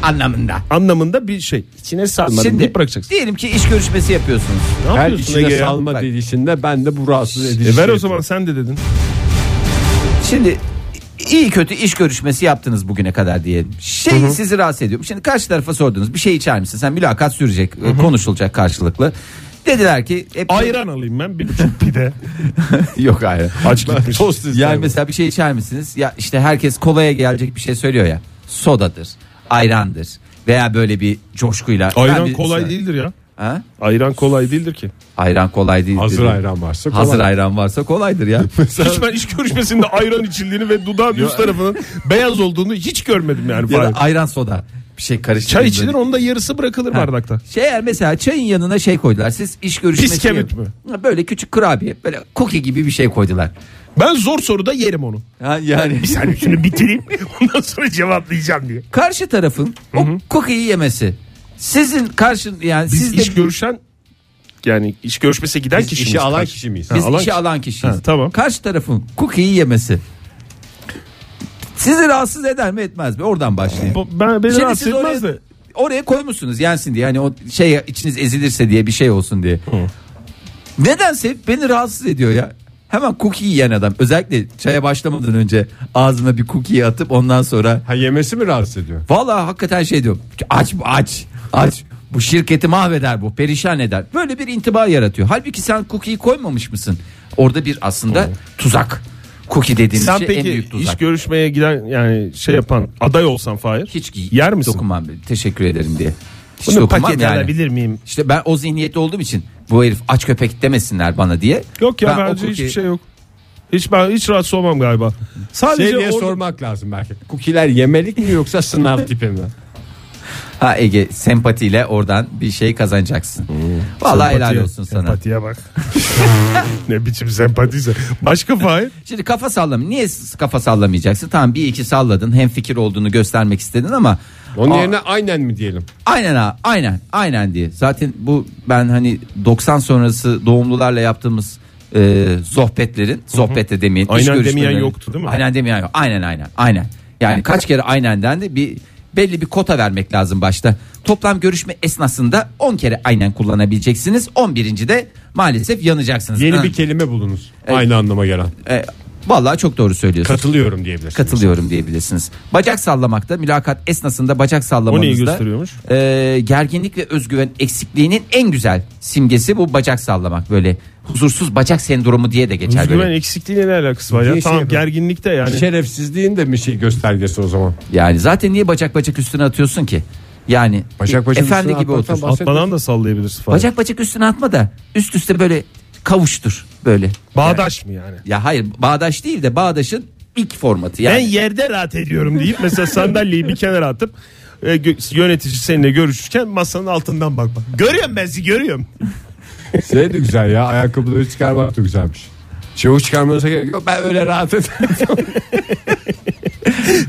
[SPEAKER 2] anlamında.
[SPEAKER 3] anlamında bir şey. İçine salmadım
[SPEAKER 2] Şimdi
[SPEAKER 3] deyip bırakacaksın.
[SPEAKER 2] diyelim ki iş görüşmesi yapıyorsunuz.
[SPEAKER 3] Ne
[SPEAKER 1] Her
[SPEAKER 3] yapıyorsun Ege
[SPEAKER 1] içine
[SPEAKER 3] ya?
[SPEAKER 1] salma
[SPEAKER 2] Bak.
[SPEAKER 1] dedişinde ben de bu rahatsız edici.
[SPEAKER 3] E ver o
[SPEAKER 1] şey
[SPEAKER 3] zaman sen de dedin.
[SPEAKER 2] Şimdi iyi kötü iş görüşmesi yaptınız bugüne kadar diyelim. Şey sizi rahatsız ediyor. mu? Şimdi karşı tarafa sordunuz bir şey içer misin? Sen mülakat sürecek, konuşulacak karşılıklı. Dediler ki hep
[SPEAKER 3] Ayran alayım ben bir buçuk pide.
[SPEAKER 2] yok ayran.
[SPEAKER 3] Aç gitmiş.
[SPEAKER 1] Tost isterim.
[SPEAKER 2] Yani mesela bir şey içer misiniz? Ya işte herkes kolaya gelecek bir şey söylüyor ya. Sodadır, ayrandır veya böyle bir coşkuyla. Ben
[SPEAKER 3] Ayran
[SPEAKER 2] bir-
[SPEAKER 3] kolay değildir ya.
[SPEAKER 2] Ha?
[SPEAKER 3] Ayran kolay değildir ki.
[SPEAKER 2] Ayran kolay değil.
[SPEAKER 1] Hazır
[SPEAKER 2] dedim.
[SPEAKER 1] ayran varsa kolay.
[SPEAKER 2] Hazır ayran varsa kolaydır ya.
[SPEAKER 3] Hiç ben iş görüşmesinde ayran içildiğini ve dudağın üst tarafının beyaz olduğunu hiç görmedim yani.
[SPEAKER 2] ya da
[SPEAKER 3] Fahir.
[SPEAKER 2] ayran soda bir şey karıştırılır.
[SPEAKER 3] Çay içilir onun da yarısı bırakılır bardakta.
[SPEAKER 2] Şey eğer mesela çayın yanına şey koydular. Siz iş görüşmesi
[SPEAKER 3] Piskevit
[SPEAKER 2] yap-
[SPEAKER 3] mi?
[SPEAKER 2] Ha, Böyle küçük kurabiye, böyle cookie gibi bir şey koydular.
[SPEAKER 3] Ben zor soruda yerim onu.
[SPEAKER 2] Ha, yani
[SPEAKER 3] Sen üstünü bitireyim ondan sonra cevaplayacağım diye.
[SPEAKER 2] karşı tarafın o cookie'yi yemesi. Sizin karşı yani
[SPEAKER 3] Biz
[SPEAKER 2] siz de
[SPEAKER 3] iş görüşen yani iş görüşmese giden
[SPEAKER 1] Biz
[SPEAKER 3] kişi
[SPEAKER 1] işi alan kişi miyiz?
[SPEAKER 2] biz
[SPEAKER 3] alan
[SPEAKER 2] işi
[SPEAKER 3] kişi.
[SPEAKER 2] alan kişiyiz.
[SPEAKER 3] Ha, tamam.
[SPEAKER 2] Karşı tarafın cookie'yi yemesi. Sizi rahatsız eder mi etmez mi? Oradan başlayayım.
[SPEAKER 3] Ben beni
[SPEAKER 2] Şimdi
[SPEAKER 3] rahatsız
[SPEAKER 2] siz oraya-
[SPEAKER 3] etmez de.
[SPEAKER 2] Oraya koymuşsunuz yensin diye. Hani o şey içiniz ezilirse diye bir şey olsun diye. Nedense beni rahatsız ediyor ya. Hemen cookie yiyen adam. Özellikle çaya başlamadan önce ağzına bir cookie atıp ondan sonra.
[SPEAKER 1] Ha yemesi mi rahatsız ediyor?
[SPEAKER 2] Valla hakikaten şey diyorum. Aç bu, aç aç. Bu şirketi mahveder bu perişan eder. Böyle bir intiba yaratıyor. Halbuki sen cookie'yi koymamış mısın? Orada bir aslında tuzak. Cookie dediğimiz
[SPEAKER 3] Sen
[SPEAKER 2] şey en
[SPEAKER 3] peki
[SPEAKER 2] büyük tuzak.
[SPEAKER 3] iş görüşmeye giden yani şey yapan aday olsan Fahir.
[SPEAKER 2] Hiç gi-
[SPEAKER 3] yer misin?
[SPEAKER 2] Dokunmam. Teşekkür ederim diye. Hiç
[SPEAKER 3] Bunu
[SPEAKER 2] dokunmam
[SPEAKER 3] paket
[SPEAKER 2] yani.
[SPEAKER 3] alabilir miyim?
[SPEAKER 2] İşte ben o zihniyette olduğum için bu herif aç köpek demesinler bana diye.
[SPEAKER 3] Yok ya
[SPEAKER 2] Ben o
[SPEAKER 3] bence
[SPEAKER 2] cookie-
[SPEAKER 3] hiçbir şey yok. Hiç ben hiç rahatsız olmam galiba. Sadece
[SPEAKER 1] Şey diye
[SPEAKER 3] orada-
[SPEAKER 1] sormak lazım belki. Kukiler yemelik mi yoksa sınav tipi mi?
[SPEAKER 2] Ha Ege sempatiyle oradan bir şey kazanacaksın. Vallahi helal
[SPEAKER 3] Sempatiye-
[SPEAKER 2] olsun sana.
[SPEAKER 3] Sempatiye bak. ne biçim sempatiyse. Başka Fahir.
[SPEAKER 2] Şimdi kafa sallam. Niye s- kafa sallamayacaksın? Tamam bir iki salladın. Hem fikir olduğunu göstermek istedin ama
[SPEAKER 1] Onun
[SPEAKER 2] Aa,
[SPEAKER 1] yerine aynen mi diyelim?
[SPEAKER 2] aynen ha, aynen aynen diye. Zaten bu ben hani 90 sonrası doğumlularla yaptığımız e, sohbetlerin sohbette demeyin. iş
[SPEAKER 3] Aynen demeyen
[SPEAKER 2] görüşmeleri-
[SPEAKER 3] yoktu değil mi?
[SPEAKER 2] Aynen demeyen yok. Aynen aynen aynen. Yani kaç kere aynen dendi bir belli bir kota vermek lazım başta. Toplam görüşme esnasında 10 kere aynen kullanabileceksiniz. 11. de maalesef
[SPEAKER 3] E,
[SPEAKER 2] yanacaksınız.
[SPEAKER 1] Yeni
[SPEAKER 2] Ha,
[SPEAKER 1] bir kelime bulunuz. Aynı anlama gelen.
[SPEAKER 2] e, vallahi çok doğru söylüyorsun.
[SPEAKER 1] Katılıyorum diyebilirsin.
[SPEAKER 2] Katılıyorum diyebilirsiniz. Bacak sallamakta mülakat esnasında bacak
[SPEAKER 3] O neyi
[SPEAKER 2] sallamanızda
[SPEAKER 3] gösteriyormuş?
[SPEAKER 2] e, gerginlik ve özgüven eksikliğinin en güzel simgesi bu bacak sallamak böyle huzursuz bacak sendromu diye de geçer.
[SPEAKER 3] Özgüven
[SPEAKER 2] böyle.
[SPEAKER 3] eksikliğiyle ne alakası var
[SPEAKER 1] Niye
[SPEAKER 3] ya?
[SPEAKER 1] şey
[SPEAKER 3] Tamam
[SPEAKER 1] yapıyorsun?
[SPEAKER 3] gerginlikte yani.
[SPEAKER 1] Şerefsizliğin de bir şey göstergesi o zaman.
[SPEAKER 2] Yani zaten niye bacak bacak üstüne atıyorsun ki? Yani e,
[SPEAKER 1] Bacak bacak
[SPEAKER 2] efendi
[SPEAKER 1] üstüne
[SPEAKER 2] gibi
[SPEAKER 1] atmaktan
[SPEAKER 2] otur.
[SPEAKER 3] Atmadan da sallayabilirsin Fahir.
[SPEAKER 2] Bacak bacak üstüne atma da üst üste böyle kavuştur böyle.
[SPEAKER 3] Bağdaş mı yani?
[SPEAKER 2] Ya hayır bağdaş değil de bağdaşın ilk formatı.
[SPEAKER 3] Ben
[SPEAKER 2] Yani
[SPEAKER 3] yerde rahat ediyorum deyip mesela sandalyeyi bir kenara atıp e, gö- yönetici seninle görüşürken masanın altından bakma. Görüyorum ben sizi görüyorum.
[SPEAKER 1] Şey de güzel ya ayakkabıları çıkarmak da güzelmiş. Çavuş çıkarmanıza gerek yok. Ben öyle rahat ederim.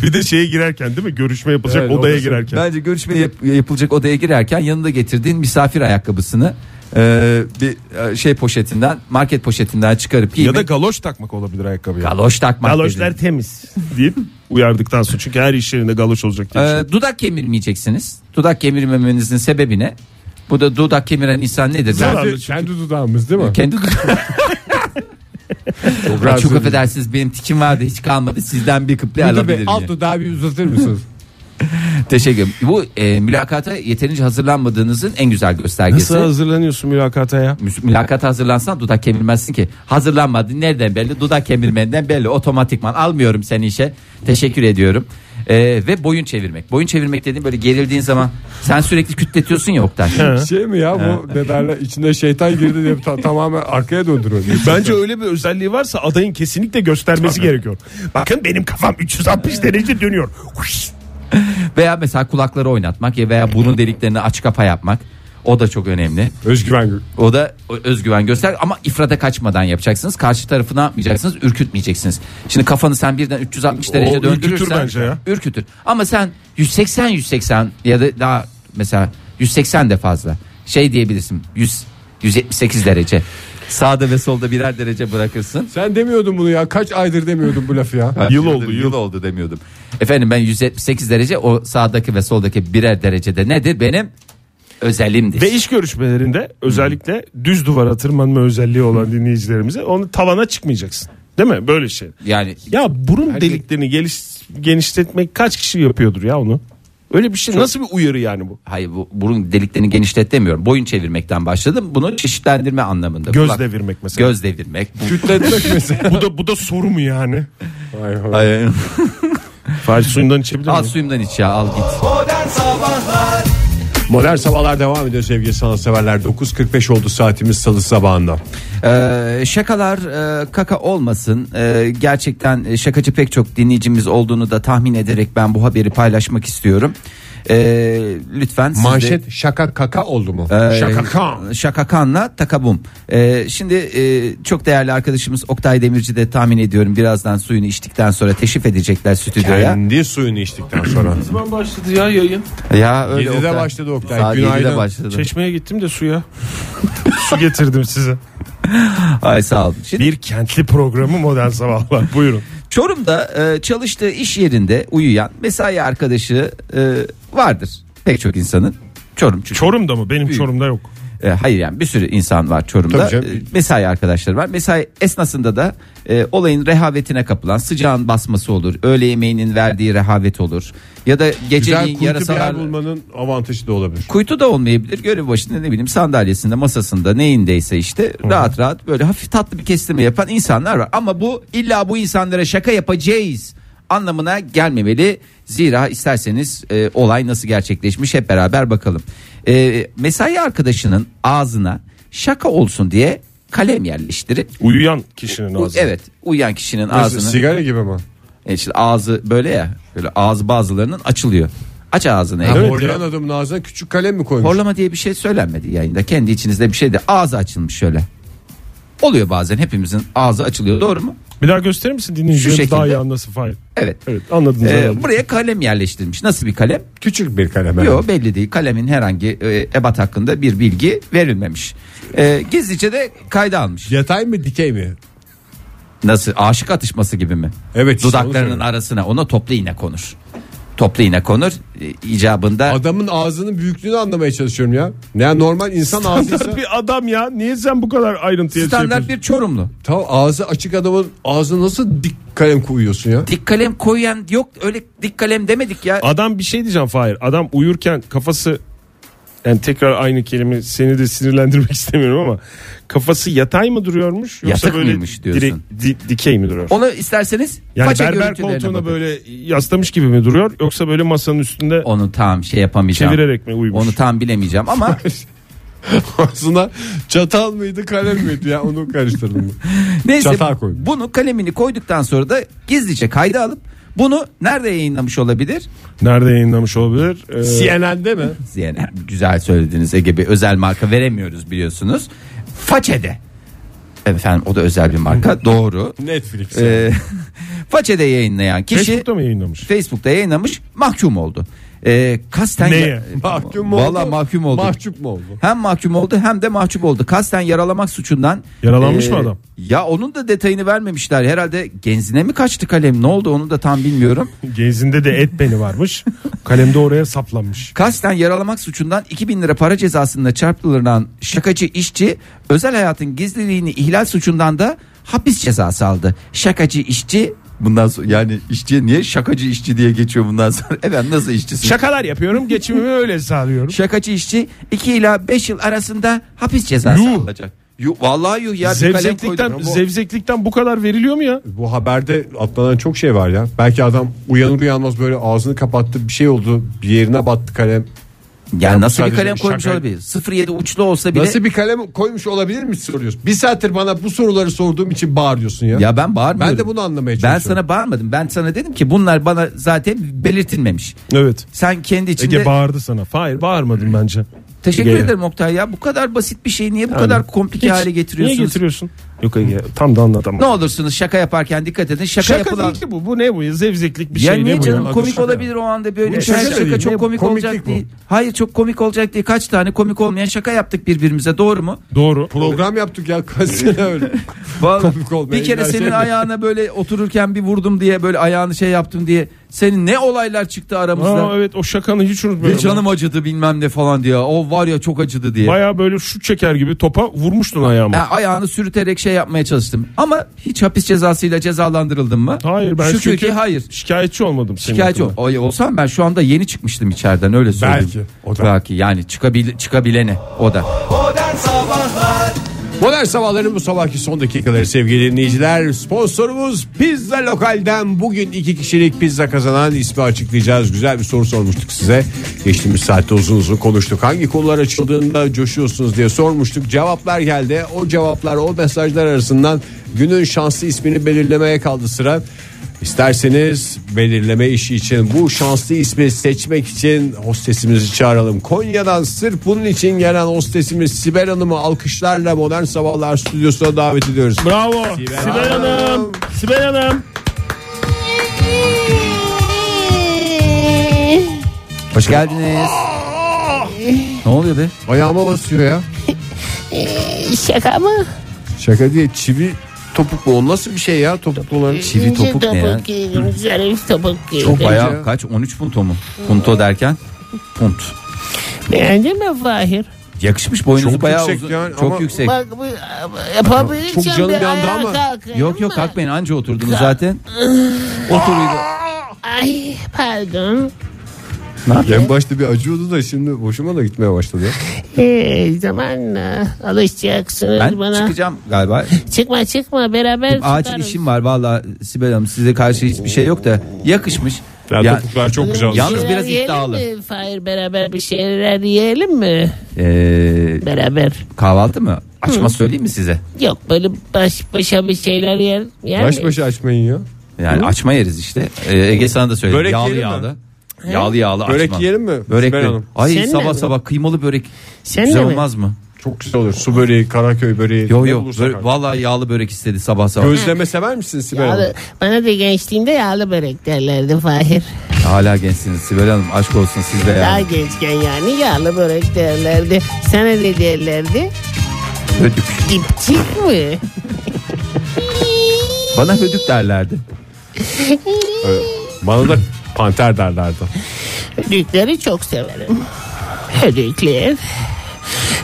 [SPEAKER 3] Bir de şeye girerken değil mi? Görüşme yapılacak
[SPEAKER 1] Evet,
[SPEAKER 3] odaya
[SPEAKER 1] odası-
[SPEAKER 3] girerken.
[SPEAKER 2] Bence görüşme yap- yapılacak odaya girerken yanında getirdiğin misafir ayakkabısını e, bir e, şey poşetinden market poşetinden çıkarıp
[SPEAKER 3] ya
[SPEAKER 2] giymek.
[SPEAKER 3] da galoş takmak olabilir ayakkabıya.
[SPEAKER 2] galoş takmak.
[SPEAKER 3] Galoşlar
[SPEAKER 2] dedi.
[SPEAKER 3] temiz deyip uyardıktan sonra çünkü her iş yerinde galoş olacak diye.
[SPEAKER 2] E, dudak kemirmeyeceksiniz. Dudak kemirmemenizin sebebi ne? Bu da dudak kemiren insan nedir?
[SPEAKER 3] Zararlı
[SPEAKER 1] Kendi,
[SPEAKER 3] çünkü.
[SPEAKER 1] kendi dudağımız değil mi?
[SPEAKER 2] Kendi
[SPEAKER 1] Çok
[SPEAKER 2] Ay,
[SPEAKER 1] rahatsız
[SPEAKER 2] çok
[SPEAKER 1] edici.
[SPEAKER 2] affedersiniz benim tikim vardı hiç kalmadı sizden bir kıble
[SPEAKER 1] Müdür Bey,
[SPEAKER 2] alabilirim.
[SPEAKER 1] alt dudağı bir uzatır mısınız?
[SPEAKER 2] Teşekkür ederim. Bu e, mülakata yeterince hazırlanmadığınızın en güzel göstergesi.
[SPEAKER 3] Nasıl hazırlanıyorsun mülakata ya?
[SPEAKER 2] Müs- mülakata hazırlansan dudak kemirmezsin ki. Hazırlanmadın nereden belli? Dudak kemirmenden belli. Otomatikman almıyorum seni işe. Teşekkür ediyorum. Ee, ve boyun çevirmek. Boyun çevirmek dediğim böyle gerildiğin zaman sen sürekli kütletiyorsun ya Oktay.
[SPEAKER 1] şey mi ya bu ne derler içine şeytan girdi diye ta- tamamen arkaya döndürüyor.
[SPEAKER 3] Bence öyle bir özelliği varsa adayın kesinlikle göstermesi gerekiyor. Bakın benim kafam 360 derece dönüyor. Huş.
[SPEAKER 2] veya mesela kulakları oynatmak ya veya burun deliklerini aç kapa yapmak. O da çok önemli.
[SPEAKER 1] Özgüven
[SPEAKER 2] O da o- özgüven göster ama ifrada kaçmadan yapacaksınız. Karşı tarafı ne yapmayacaksınız? Ürkütmeyeceksiniz. Şimdi kafanı sen birden 360 derece
[SPEAKER 3] O
[SPEAKER 2] döndürürsen
[SPEAKER 3] ürkütür bence ya.
[SPEAKER 2] ürkütür. Ama sen 180 180 ya da daha mesela 180 de fazla. Şey diyebilirsin. 100 178 derece. Sağda ve solda birer derece bırakırsın.
[SPEAKER 1] Sen demiyordun bunu ya. Kaç aydır demiyordun bu lafı ya.
[SPEAKER 2] Ha,
[SPEAKER 3] Yıl
[SPEAKER 2] diyordum,
[SPEAKER 3] oldu,
[SPEAKER 2] yıl
[SPEAKER 3] yıl.
[SPEAKER 2] oldu demiyordum. Efendim ben 178 derece o sağdaki ve soldaki birer derecede nedir benim özelimdir.
[SPEAKER 3] Ve iş görüşmelerinde özellikle düz duvara tırmanma özelliği olan dinleyicilerimize onu tavana çıkmayacaksın. Değil mi? Böyle şey.
[SPEAKER 2] yani
[SPEAKER 3] Ya burun deliklerini geliş, genişletmek kaç kişi yapıyordur ya onu? Öyle bir şey. Nasıl bir uyarı yani bu?
[SPEAKER 2] hayır bu burun deliklerini genişlet demiyorum. Boyun çevirmekten başladım. Bunu çeşitlendirme anlamında.
[SPEAKER 3] Göz
[SPEAKER 2] Kulak-
[SPEAKER 3] devirmek mesela.
[SPEAKER 2] Göz devirmek. Bu-
[SPEAKER 3] bu da bu da soru mu yani?
[SPEAKER 2] Ay-
[SPEAKER 3] Fahri suyundan içebilir
[SPEAKER 2] Al
[SPEAKER 3] miyim?
[SPEAKER 2] suyumdan iç ya al git.
[SPEAKER 1] Modern Sabahlar devam ediyor sevgili sanatseverler. 9.45 oldu saatimiz salı sabahında.
[SPEAKER 2] Ee, şakalar e, kaka olmasın. Ee, gerçekten e, şakacı pek çok dinleyicimiz olduğunu da tahmin ederek ben bu haberi paylaşmak istiyorum. Ee, lütfen siz de-
[SPEAKER 1] Manşet şaka kaka oldu mu?
[SPEAKER 2] Ee,
[SPEAKER 3] Şakakan.
[SPEAKER 2] Şakakan'la Takabum. Ee, şimdi e, çok değerli arkadaşımız Oktay Demirci de tahmin ediyorum birazdan suyunu içtikten sonra teşrif edecekler stüdyoya.
[SPEAKER 1] Kendi suyunu içtikten sonra.
[SPEAKER 3] Zaman başladı ya yayın.
[SPEAKER 2] Ya öyle
[SPEAKER 1] 7'de
[SPEAKER 2] Oktay.
[SPEAKER 1] başladı Oktay.
[SPEAKER 2] Saat 7'de
[SPEAKER 1] Günaydın.
[SPEAKER 2] başladı.
[SPEAKER 3] Çeşmeye gittim de suya. Su getirdim size.
[SPEAKER 2] Ay sağ olun. Şimdi
[SPEAKER 3] Bir kentli programı modern sabahlar. Buyurun.
[SPEAKER 2] Çorum'da e, çalıştığı iş yerinde uyuyan mesai arkadaşı e, vardır. Pek çok insanın. Çorum çünkü.
[SPEAKER 3] Çorum'da mı? Benim Çorum'da yok.
[SPEAKER 2] E, hayır yani bir sürü insan var Çorum'da.
[SPEAKER 1] Tabii canım.
[SPEAKER 2] E, mesai arkadaşları var. Mesai esnasında da e, olayın rehavetine kapılan sıcağın basması olur. Öğle yemeğinin verdiği rehavet olur. Ya da
[SPEAKER 1] Güzel
[SPEAKER 2] geceliğin
[SPEAKER 1] kuytu bir yer
[SPEAKER 2] yarasalar...
[SPEAKER 1] bulmanın avantajı da olabilir.
[SPEAKER 2] Kuytu da olmayabilir. Görev başında ne bileyim sandalyesinde, masasında neyindeyse işte rahat rahat böyle hafif tatlı bir kestirme yapan insanlar var. Ama bu illa bu insanlara şaka yapacağız anlamına gelmemeli. Zira isterseniz e, olay nasıl gerçekleşmiş hep beraber bakalım. E, mesai arkadaşının ağzına şaka olsun diye kalem yerleştirip
[SPEAKER 3] Uyuyan kişinin
[SPEAKER 2] u-
[SPEAKER 3] ağzı.
[SPEAKER 2] evet uyuyan kişinin
[SPEAKER 1] Nasıl,
[SPEAKER 2] ağzını
[SPEAKER 1] sigara gibi mi?
[SPEAKER 2] e, işte ağzı böyle ya böyle ağzı bazılarının açılıyor. Aç ağzını.
[SPEAKER 1] Ha,
[SPEAKER 2] Ege.
[SPEAKER 1] Horlayan adamın ağzına küçük kalem mi koymuş?
[SPEAKER 2] Horlama diye bir şey söylenmedi yayında. Kendi içinizde bir şey de ağzı açılmış şöyle. Oluyor bazen hepimizin ağzı açılıyor doğru mu?
[SPEAKER 3] Bir daha gösterir misin
[SPEAKER 2] Şu
[SPEAKER 3] dinleyicilerimiz
[SPEAKER 2] şekilde.
[SPEAKER 3] daha iyi anlasın Fahir?
[SPEAKER 2] Evet.
[SPEAKER 3] Evet anladınız
[SPEAKER 2] Ee,
[SPEAKER 3] herhalde.
[SPEAKER 2] buraya kalem yerleştirilmiş. Nasıl bir kalem?
[SPEAKER 1] Küçük bir kalem. herhalde.
[SPEAKER 2] Yok belli değil. Kalemin herhangi e, ebat hakkında bir bilgi verilmemiş. Ee, gizlice de kayda almış.
[SPEAKER 1] Yatay mı dikey mi?
[SPEAKER 2] Nasıl aşık atışması gibi mi?
[SPEAKER 3] E,
[SPEAKER 1] Evet, işte onu
[SPEAKER 2] Dudaklarının
[SPEAKER 1] söylüyorum.
[SPEAKER 2] arasına ona toplu iğne konur. Toplu iğne konur. E, icabında
[SPEAKER 1] Adamın ağzının büyüklüğünü anlamaya çalışıyorum ya. Yani normal insan ağzıysa
[SPEAKER 3] Standart bir adam ya. Niye sen bu kadar ayrıntıya şey
[SPEAKER 2] standart
[SPEAKER 3] yapıyorsun?
[SPEAKER 2] bir çorumlu.
[SPEAKER 1] Tamam ağzı açık adamın ağzına nasıl dik kalem koyuyorsun ya?
[SPEAKER 2] Dik kalem koyan yok öyle dik kalem demedik ya.
[SPEAKER 3] Adam bir şey diyeceğim Fahir. Adam uyurken kafası yani tekrar aynı kelime seni de sinirlendirmek istemiyorum ama kafası yatay mı duruyormuş yoksa
[SPEAKER 2] Yatık
[SPEAKER 3] böyle
[SPEAKER 2] mıymış diyorsun?
[SPEAKER 3] direkt di- dikey mi duruyor?
[SPEAKER 2] Onu isterseniz
[SPEAKER 3] Yani
[SPEAKER 2] faça
[SPEAKER 3] berber
[SPEAKER 2] görüntülerine
[SPEAKER 3] koltuğuna
[SPEAKER 2] bakın.
[SPEAKER 3] böyle yaslamış gibi mi duruyor yoksa böyle masanın üstünde
[SPEAKER 2] onu tam şey yapamayacağım.
[SPEAKER 3] çevirerek mi uyumuş?
[SPEAKER 2] Onu tam bilemeyeceğim ama
[SPEAKER 1] Ağzına çatal mıydı kalem miydi ya onu karıştırdım.
[SPEAKER 2] neyse
[SPEAKER 1] Çatal koy.
[SPEAKER 2] bunu kalemini koyduktan sonra da gizlice kayda alıp bunu nerede yayınlamış olabilir?
[SPEAKER 3] Nerede yayınlamış olabilir? Ee,
[SPEAKER 1] CNN'de mi?
[SPEAKER 2] Yani güzel söylediğiniz Ege Bey özel marka veremiyoruz biliyorsunuz. Façede. Efendim o da özel bir marka doğru.
[SPEAKER 1] Netflix.
[SPEAKER 2] Ee, Façede yayınlayan kişi
[SPEAKER 3] Facebook'ta mı yayınlamış?
[SPEAKER 2] Facebook'ta yayınlamış mahkum oldu. Ee, kasten
[SPEAKER 3] Neye?
[SPEAKER 1] mahkum mu oldu?
[SPEAKER 2] Valla mahkum oldu.
[SPEAKER 1] Mahcup mu oldu?
[SPEAKER 2] Hem mahkum oldu hem de mahcup oldu. Kasten yaralamak suçundan.
[SPEAKER 3] Yaralanmış mı adam?
[SPEAKER 2] Ya onun da detayını vermemişler. Herhalde genzine mi kaçtı kalem ne oldu onu da tam bilmiyorum.
[SPEAKER 3] Gezinde de et beni varmış. Kalemde oraya saplanmış.
[SPEAKER 2] Kasten yaralamak suçundan 2000 lira para cezasında çarptırılan şakacı işçi özel hayatın gizliliğini ihlal suçundan da hapis cezası aldı. Şakacı işçi bundan sonra yani işçiye niye şakacı işçi diye geçiyor bundan sonra? Evet nasıl işçisin?
[SPEAKER 3] Şakalar yapıyorum geçimimi öyle sağlıyorum.
[SPEAKER 2] Şakacı işçi 2 ila 5 yıl arasında hapis cezası
[SPEAKER 3] Yuh.
[SPEAKER 2] alacak. Yuh, vallahi yuh ya. bir kalem
[SPEAKER 3] Zevzeklikten,
[SPEAKER 2] koydum.
[SPEAKER 3] zevzeklikten bu kadar veriliyor mu ya?
[SPEAKER 1] Bu haberde atlanan çok şey var ya. Belki adam uyanır uyanmaz böyle ağzını kapattı bir şey oldu. Bir yerine battı kalem.
[SPEAKER 2] Ya
[SPEAKER 1] Yani bu
[SPEAKER 2] nasıl bir
[SPEAKER 1] sadece
[SPEAKER 2] kalem
[SPEAKER 1] bir
[SPEAKER 2] koymuş
[SPEAKER 1] şaka.
[SPEAKER 2] olabilir? 07 uçlu olsa bile.
[SPEAKER 1] Nasıl bir kalem koymuş olabilir mi soruyorsun? Bir saattir bana bu soruları sorduğum için bağırıyorsun ya.
[SPEAKER 2] Ya ben bağırmıyorum.
[SPEAKER 1] Ben de bunu anlamaya
[SPEAKER 2] Ben
[SPEAKER 1] çalışıyorum.
[SPEAKER 2] sana bağırmadım. Ben sana dedim ki bunlar bana zaten belirtilmemiş.
[SPEAKER 3] Evet.
[SPEAKER 2] Sen kendi içinde
[SPEAKER 3] Ege bağırdı sana. Hayır
[SPEAKER 2] Hmm.
[SPEAKER 3] bağırmadım bence.
[SPEAKER 2] Teşekkür
[SPEAKER 3] Ege'ye.
[SPEAKER 2] ederim Oktay ya. Bu kadar basit bir şeyi niye bu
[SPEAKER 3] Yani
[SPEAKER 2] kadar komplike
[SPEAKER 3] hiç-
[SPEAKER 2] hale getiriyorsunuz?
[SPEAKER 3] Niye getiriyorsun? Yok ya, tam da anlatamam.
[SPEAKER 2] Ne olursunuz şaka yaparken dikkat edin. Şaka,
[SPEAKER 3] Şaka
[SPEAKER 2] yapılan...
[SPEAKER 3] değil ki bu. Bu ne bu? ya? Zevzeklik bir
[SPEAKER 2] Ya
[SPEAKER 3] şey.
[SPEAKER 2] niye
[SPEAKER 3] ne bu
[SPEAKER 2] canım
[SPEAKER 3] ya?
[SPEAKER 2] komik
[SPEAKER 3] Şaka.
[SPEAKER 2] olabilir o anda böyle
[SPEAKER 3] Ne
[SPEAKER 2] bir şey.
[SPEAKER 3] şaka
[SPEAKER 2] Şaka,
[SPEAKER 3] değil,
[SPEAKER 1] ne
[SPEAKER 2] çok komik
[SPEAKER 1] komiklik
[SPEAKER 2] olacak
[SPEAKER 1] bu?
[SPEAKER 2] değil. Hayır çok komik olacak değil. Kaç tane komik olmayan şaka yaptık birbirimize doğru mu?
[SPEAKER 3] Doğru.
[SPEAKER 1] Program yaptık ya kaç sene öyle.
[SPEAKER 2] Vallahi
[SPEAKER 1] Komik olmayan
[SPEAKER 2] bir kere
[SPEAKER 1] gerçekten.
[SPEAKER 2] senin ayağına böyle otururken bir vurdum diye böyle ayağını şey yaptım diye senin ne olaylar çıktı aramızda.
[SPEAKER 3] Aa, evet o şakanı hiç
[SPEAKER 2] Bir
[SPEAKER 3] unutmuyorum.
[SPEAKER 2] canım acıdı bilmem ne falan diye. O var ya çok acıdı diye.
[SPEAKER 3] Baya böyle şut çeker gibi topa vurmuştun ayağıma.
[SPEAKER 2] Ha, ayağını sürüterek şey yapmaya çalıştım. Ama hiç hapis cezasıyla cezalandırıldım mı?
[SPEAKER 3] Hayır ben
[SPEAKER 2] Şükür
[SPEAKER 3] çünkü şey
[SPEAKER 2] ki hayır.
[SPEAKER 3] şikayetçi olmadım. senin
[SPEAKER 2] Şikayetçi ol.
[SPEAKER 3] hakkında.
[SPEAKER 2] Ay, olsam ben şu anda yeni çıkmıştım içeriden öyle söyleyeyim.
[SPEAKER 1] Belki, o da.
[SPEAKER 2] Belki yani çıkabil çıkabilene o da.
[SPEAKER 1] Modern sabahların bu sabahki son dakikaları sevgili dinleyiciler. Sponsorumuz Pizza Lokal'den bugün iki kişilik pizza kazanan ismi açıklayacağız. Güzel bir soru sormuştuk size. Geçtiğimiz saatte uzun uzun konuştuk. Hangi konular açıldığında coşuyorsunuz diye sormuştuk. Cevaplar geldi. O cevaplar o mesajlar arasından günün şanslı ismini belirlemeye kaldı sıra. İsterseniz belirleme işi için bu şanslı ismi seçmek için hostesimizi çağıralım. Konya'dan sırf bunun için gelen hostesimiz Sibel Hanım'ı alkışlarla Modern Sabahlar stüdyosuna davet ediyoruz.
[SPEAKER 3] Bravo. Sibel, Hanım. Sibel Hanım.
[SPEAKER 2] Hoş geldiniz. ne oluyor be?
[SPEAKER 1] Ayağıma basıyor ya.
[SPEAKER 8] Şaka mı?
[SPEAKER 1] Şaka değil çivi topuk mu? O nasıl bir şey ya topuklu
[SPEAKER 8] Ee,
[SPEAKER 1] olan?
[SPEAKER 2] Çivi topuk ne ya?
[SPEAKER 8] giydim. Zarif topuk giydim.
[SPEAKER 2] Çok bayağı kaç 13 punto mu? Punto derken punt.
[SPEAKER 8] Beğendin mi Fahir?
[SPEAKER 2] Yakışmış boynuzu
[SPEAKER 1] Çok
[SPEAKER 2] bayağı
[SPEAKER 1] yüksek
[SPEAKER 2] uzun.
[SPEAKER 1] yani
[SPEAKER 2] çok
[SPEAKER 1] ama-
[SPEAKER 2] yüksek.
[SPEAKER 8] Bak bu yapabilirsen
[SPEAKER 1] Çok canım
[SPEAKER 8] bir
[SPEAKER 1] yandı
[SPEAKER 8] ayağa
[SPEAKER 1] ama.
[SPEAKER 8] kalkayım
[SPEAKER 2] Yok yok
[SPEAKER 8] mı?
[SPEAKER 2] kalkmayın anca oturdunuz zaten. Oturuydu.
[SPEAKER 8] Ay pardon.
[SPEAKER 1] En başta bir acıyordu da şimdi boşuma da gitmeye başladı. ya.
[SPEAKER 8] Ee, zamanla alışacaksınız
[SPEAKER 2] Ben
[SPEAKER 8] bana.
[SPEAKER 2] çıkacağım galiba.
[SPEAKER 8] Çıkma çıkma beraber
[SPEAKER 2] Acil
[SPEAKER 8] tutarız.
[SPEAKER 2] işim var valla Sibel Hanım size karşı hiçbir şey yok da yakışmış.
[SPEAKER 3] Ya,
[SPEAKER 2] Ya-
[SPEAKER 3] topuklar çok güzel.
[SPEAKER 2] Yalnız
[SPEAKER 8] Şeyler
[SPEAKER 2] biraz
[SPEAKER 8] yiyelim
[SPEAKER 2] iddialı.
[SPEAKER 8] mi Fahir beraber bir şeyler yiyelim mi?
[SPEAKER 2] Ee,
[SPEAKER 8] Beraber.
[SPEAKER 2] kahvaltı mı? Açma söyleyeyim mi size?
[SPEAKER 8] Yok böyle baş başa bir şeyler yer. yer
[SPEAKER 1] Baş
[SPEAKER 8] miyiz?
[SPEAKER 1] başa açmayın ya.
[SPEAKER 2] Yani açma yeriz işte. Ee, Ege sana da söyledi.
[SPEAKER 1] Börek
[SPEAKER 2] yağlı
[SPEAKER 1] yiyelim mi?
[SPEAKER 2] yağlı. Yağlı yağlı
[SPEAKER 1] Börek
[SPEAKER 2] açma.
[SPEAKER 1] yiyelim mi?
[SPEAKER 2] Börek
[SPEAKER 1] Sibel
[SPEAKER 2] de-
[SPEAKER 1] Hanım.
[SPEAKER 2] Ay
[SPEAKER 8] Seninle
[SPEAKER 2] sabah
[SPEAKER 8] mi?
[SPEAKER 2] sabah kıymalı börek.
[SPEAKER 8] Seninle
[SPEAKER 2] Güzel
[SPEAKER 8] mi?
[SPEAKER 2] olmaz mı?
[SPEAKER 1] Çok güzel olur. Su böreği, Karaköy böreği.
[SPEAKER 2] Yok
[SPEAKER 1] ne
[SPEAKER 2] yok.
[SPEAKER 1] bulursak
[SPEAKER 2] Börek-
[SPEAKER 1] artık.
[SPEAKER 2] Vallahi yağlı börek istedi sabah sabah.
[SPEAKER 1] Gözleme sever misin Sibel Hanım?
[SPEAKER 8] Yağlı, bana da gençliğimde yağlı börek derlerdi Fahir.
[SPEAKER 2] Hala gençsiniz Sibel Hanım. Aşk olsun siz de
[SPEAKER 8] Daha
[SPEAKER 2] yani.
[SPEAKER 8] gençken yani yağlı börek derlerdi. Sana ne derlerdi?
[SPEAKER 2] Hödük.
[SPEAKER 8] Dipçik mi?
[SPEAKER 2] Bana hödük derlerdi.
[SPEAKER 1] Bana da panter derlerdi.
[SPEAKER 8] Hödükleri çok severim. Hödükler.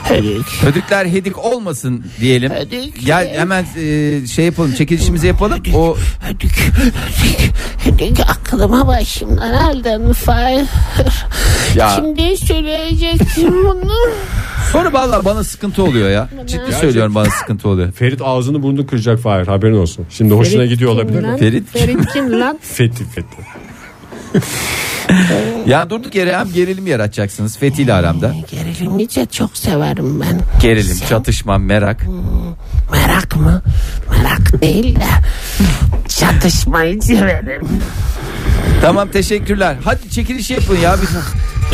[SPEAKER 8] Hödük.
[SPEAKER 2] Hödükler hedik olmasın diyelim.
[SPEAKER 8] Hödük.
[SPEAKER 2] Gel hemen e, şey yapalım. Çekilişimizi yapalım. O
[SPEAKER 8] Hödük. Hödük. Hödük aklıma başımdan aldın Fahir.
[SPEAKER 2] Ya.
[SPEAKER 8] Şimdi söyleyecektim bunu.
[SPEAKER 2] sonra vallahi bana sıkıntı oluyor ya. Ciddi söylüyorum bana sıkıntı oluyor.
[SPEAKER 1] Ferit ağzını burnunu kıracak Fahir haberin olsun. Şimdi hoşuna gidiyor olabilir mi?
[SPEAKER 2] Ferit.
[SPEAKER 8] Ferit kim lan?
[SPEAKER 1] Fethi Fethi.
[SPEAKER 2] Ya durduk yere hem gerilim yaratacaksınız Fethi ile aramda.
[SPEAKER 8] Gerilimi de çok severim ben.
[SPEAKER 2] Gerilim, çatışma, merak.
[SPEAKER 8] Merak mı? Merak değil de çatışmayı severim.
[SPEAKER 2] Tamam teşekkürler. Hadi çekiliş yapın ya. Bir...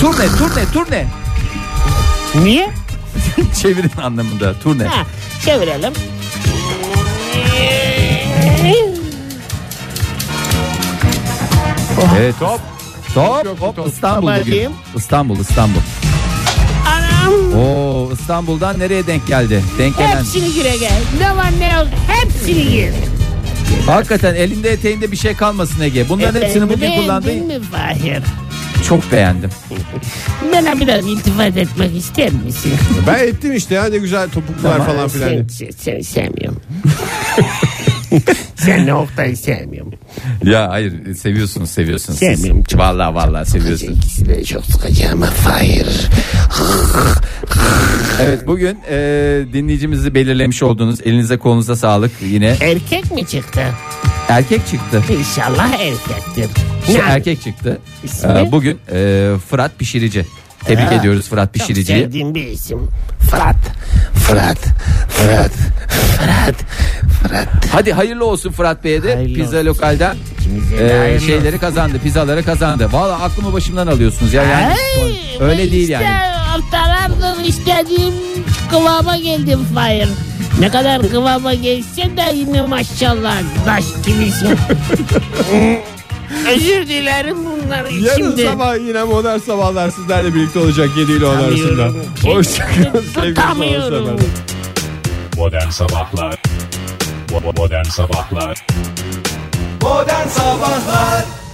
[SPEAKER 2] turne, turne, turne.
[SPEAKER 8] Niye?
[SPEAKER 2] Çevirin anlamında turne.
[SPEAKER 8] Ha, çevirelim.
[SPEAKER 2] Evet. Top. Top. Hop. İstanbul bugün.
[SPEAKER 8] Babacığım.
[SPEAKER 2] İstanbul, İstanbul.
[SPEAKER 8] Anam
[SPEAKER 2] Oo, İstanbul'dan nereye denk geldi? Denk gelen.
[SPEAKER 8] hepsini gire gel. Ne var ne yok hepsini gir.
[SPEAKER 2] Hakikaten elinde eteğinde bir şey kalmasın Ege. Bunların hepsini bugün
[SPEAKER 8] Beğendin
[SPEAKER 2] kullandın.
[SPEAKER 8] mi Fahir?
[SPEAKER 2] Çok beğendim.
[SPEAKER 8] Bana biraz iltifat etmek ister misin?
[SPEAKER 1] Ben ettim işte ya ne güzel topuklar falan filan.
[SPEAKER 8] Sen, sen, seni sevmiyorum. sen ne Oktay'ı sevmiyorum.
[SPEAKER 2] Ya hayır seviyorsunuz seviyorsunuz.
[SPEAKER 8] siz. Sevmiyorum çok.
[SPEAKER 2] Vallahi vallahi seviyorsunuz.
[SPEAKER 8] İkisi de çok sıkıcı ama Fahir.
[SPEAKER 2] Evet bugün e, dinleyicimizi belirlemiş olduğunuz elinize kolunuza sağlık yine
[SPEAKER 8] Erkek mi çıktı?
[SPEAKER 2] erkek çıktı.
[SPEAKER 8] İnşallah erkektir.
[SPEAKER 2] İşte
[SPEAKER 8] Ne?
[SPEAKER 2] erkek çıktı.
[SPEAKER 8] İsmi?
[SPEAKER 2] E, bugün e, Fırat Pişirici. Tebrik
[SPEAKER 8] Aa,
[SPEAKER 2] ediyoruz Fırat
[SPEAKER 8] Çok
[SPEAKER 2] Pişirici'yi.
[SPEAKER 8] sevdiğim bir isim. Fırat. Fırat. Fırat. Fırat. Fırat.
[SPEAKER 2] Hadi hayırlı olsun Fırat Bey'e de
[SPEAKER 8] Hayırlı
[SPEAKER 2] pizza
[SPEAKER 8] olsun.
[SPEAKER 2] lokalden
[SPEAKER 8] İkimize de
[SPEAKER 2] e,
[SPEAKER 8] hayırlı
[SPEAKER 2] şeyleri kazandı pizzaları kazandı. Valla aklımı başımdan alıyorsunuz ya. Yani, öyle değil yani.
[SPEAKER 8] Haftalardır istediğim kıvama geldim Fahir. Ne kadar kıvama geçse de yine maşallah taş gibisin. Özür dilerim bunları
[SPEAKER 3] Yarın
[SPEAKER 8] şimdi.
[SPEAKER 3] sabah yine modern sabahlar sizlerle birlikte olacak 7 ile 10 arasında.
[SPEAKER 8] Tutamıyorum.
[SPEAKER 3] Hoşçakalın sevgili
[SPEAKER 8] Tutamıyorum.
[SPEAKER 3] sanatseverler.
[SPEAKER 9] Modern Sabahlar Bo- bo- Modern Sabahlar
[SPEAKER 3] Modern Sabahlar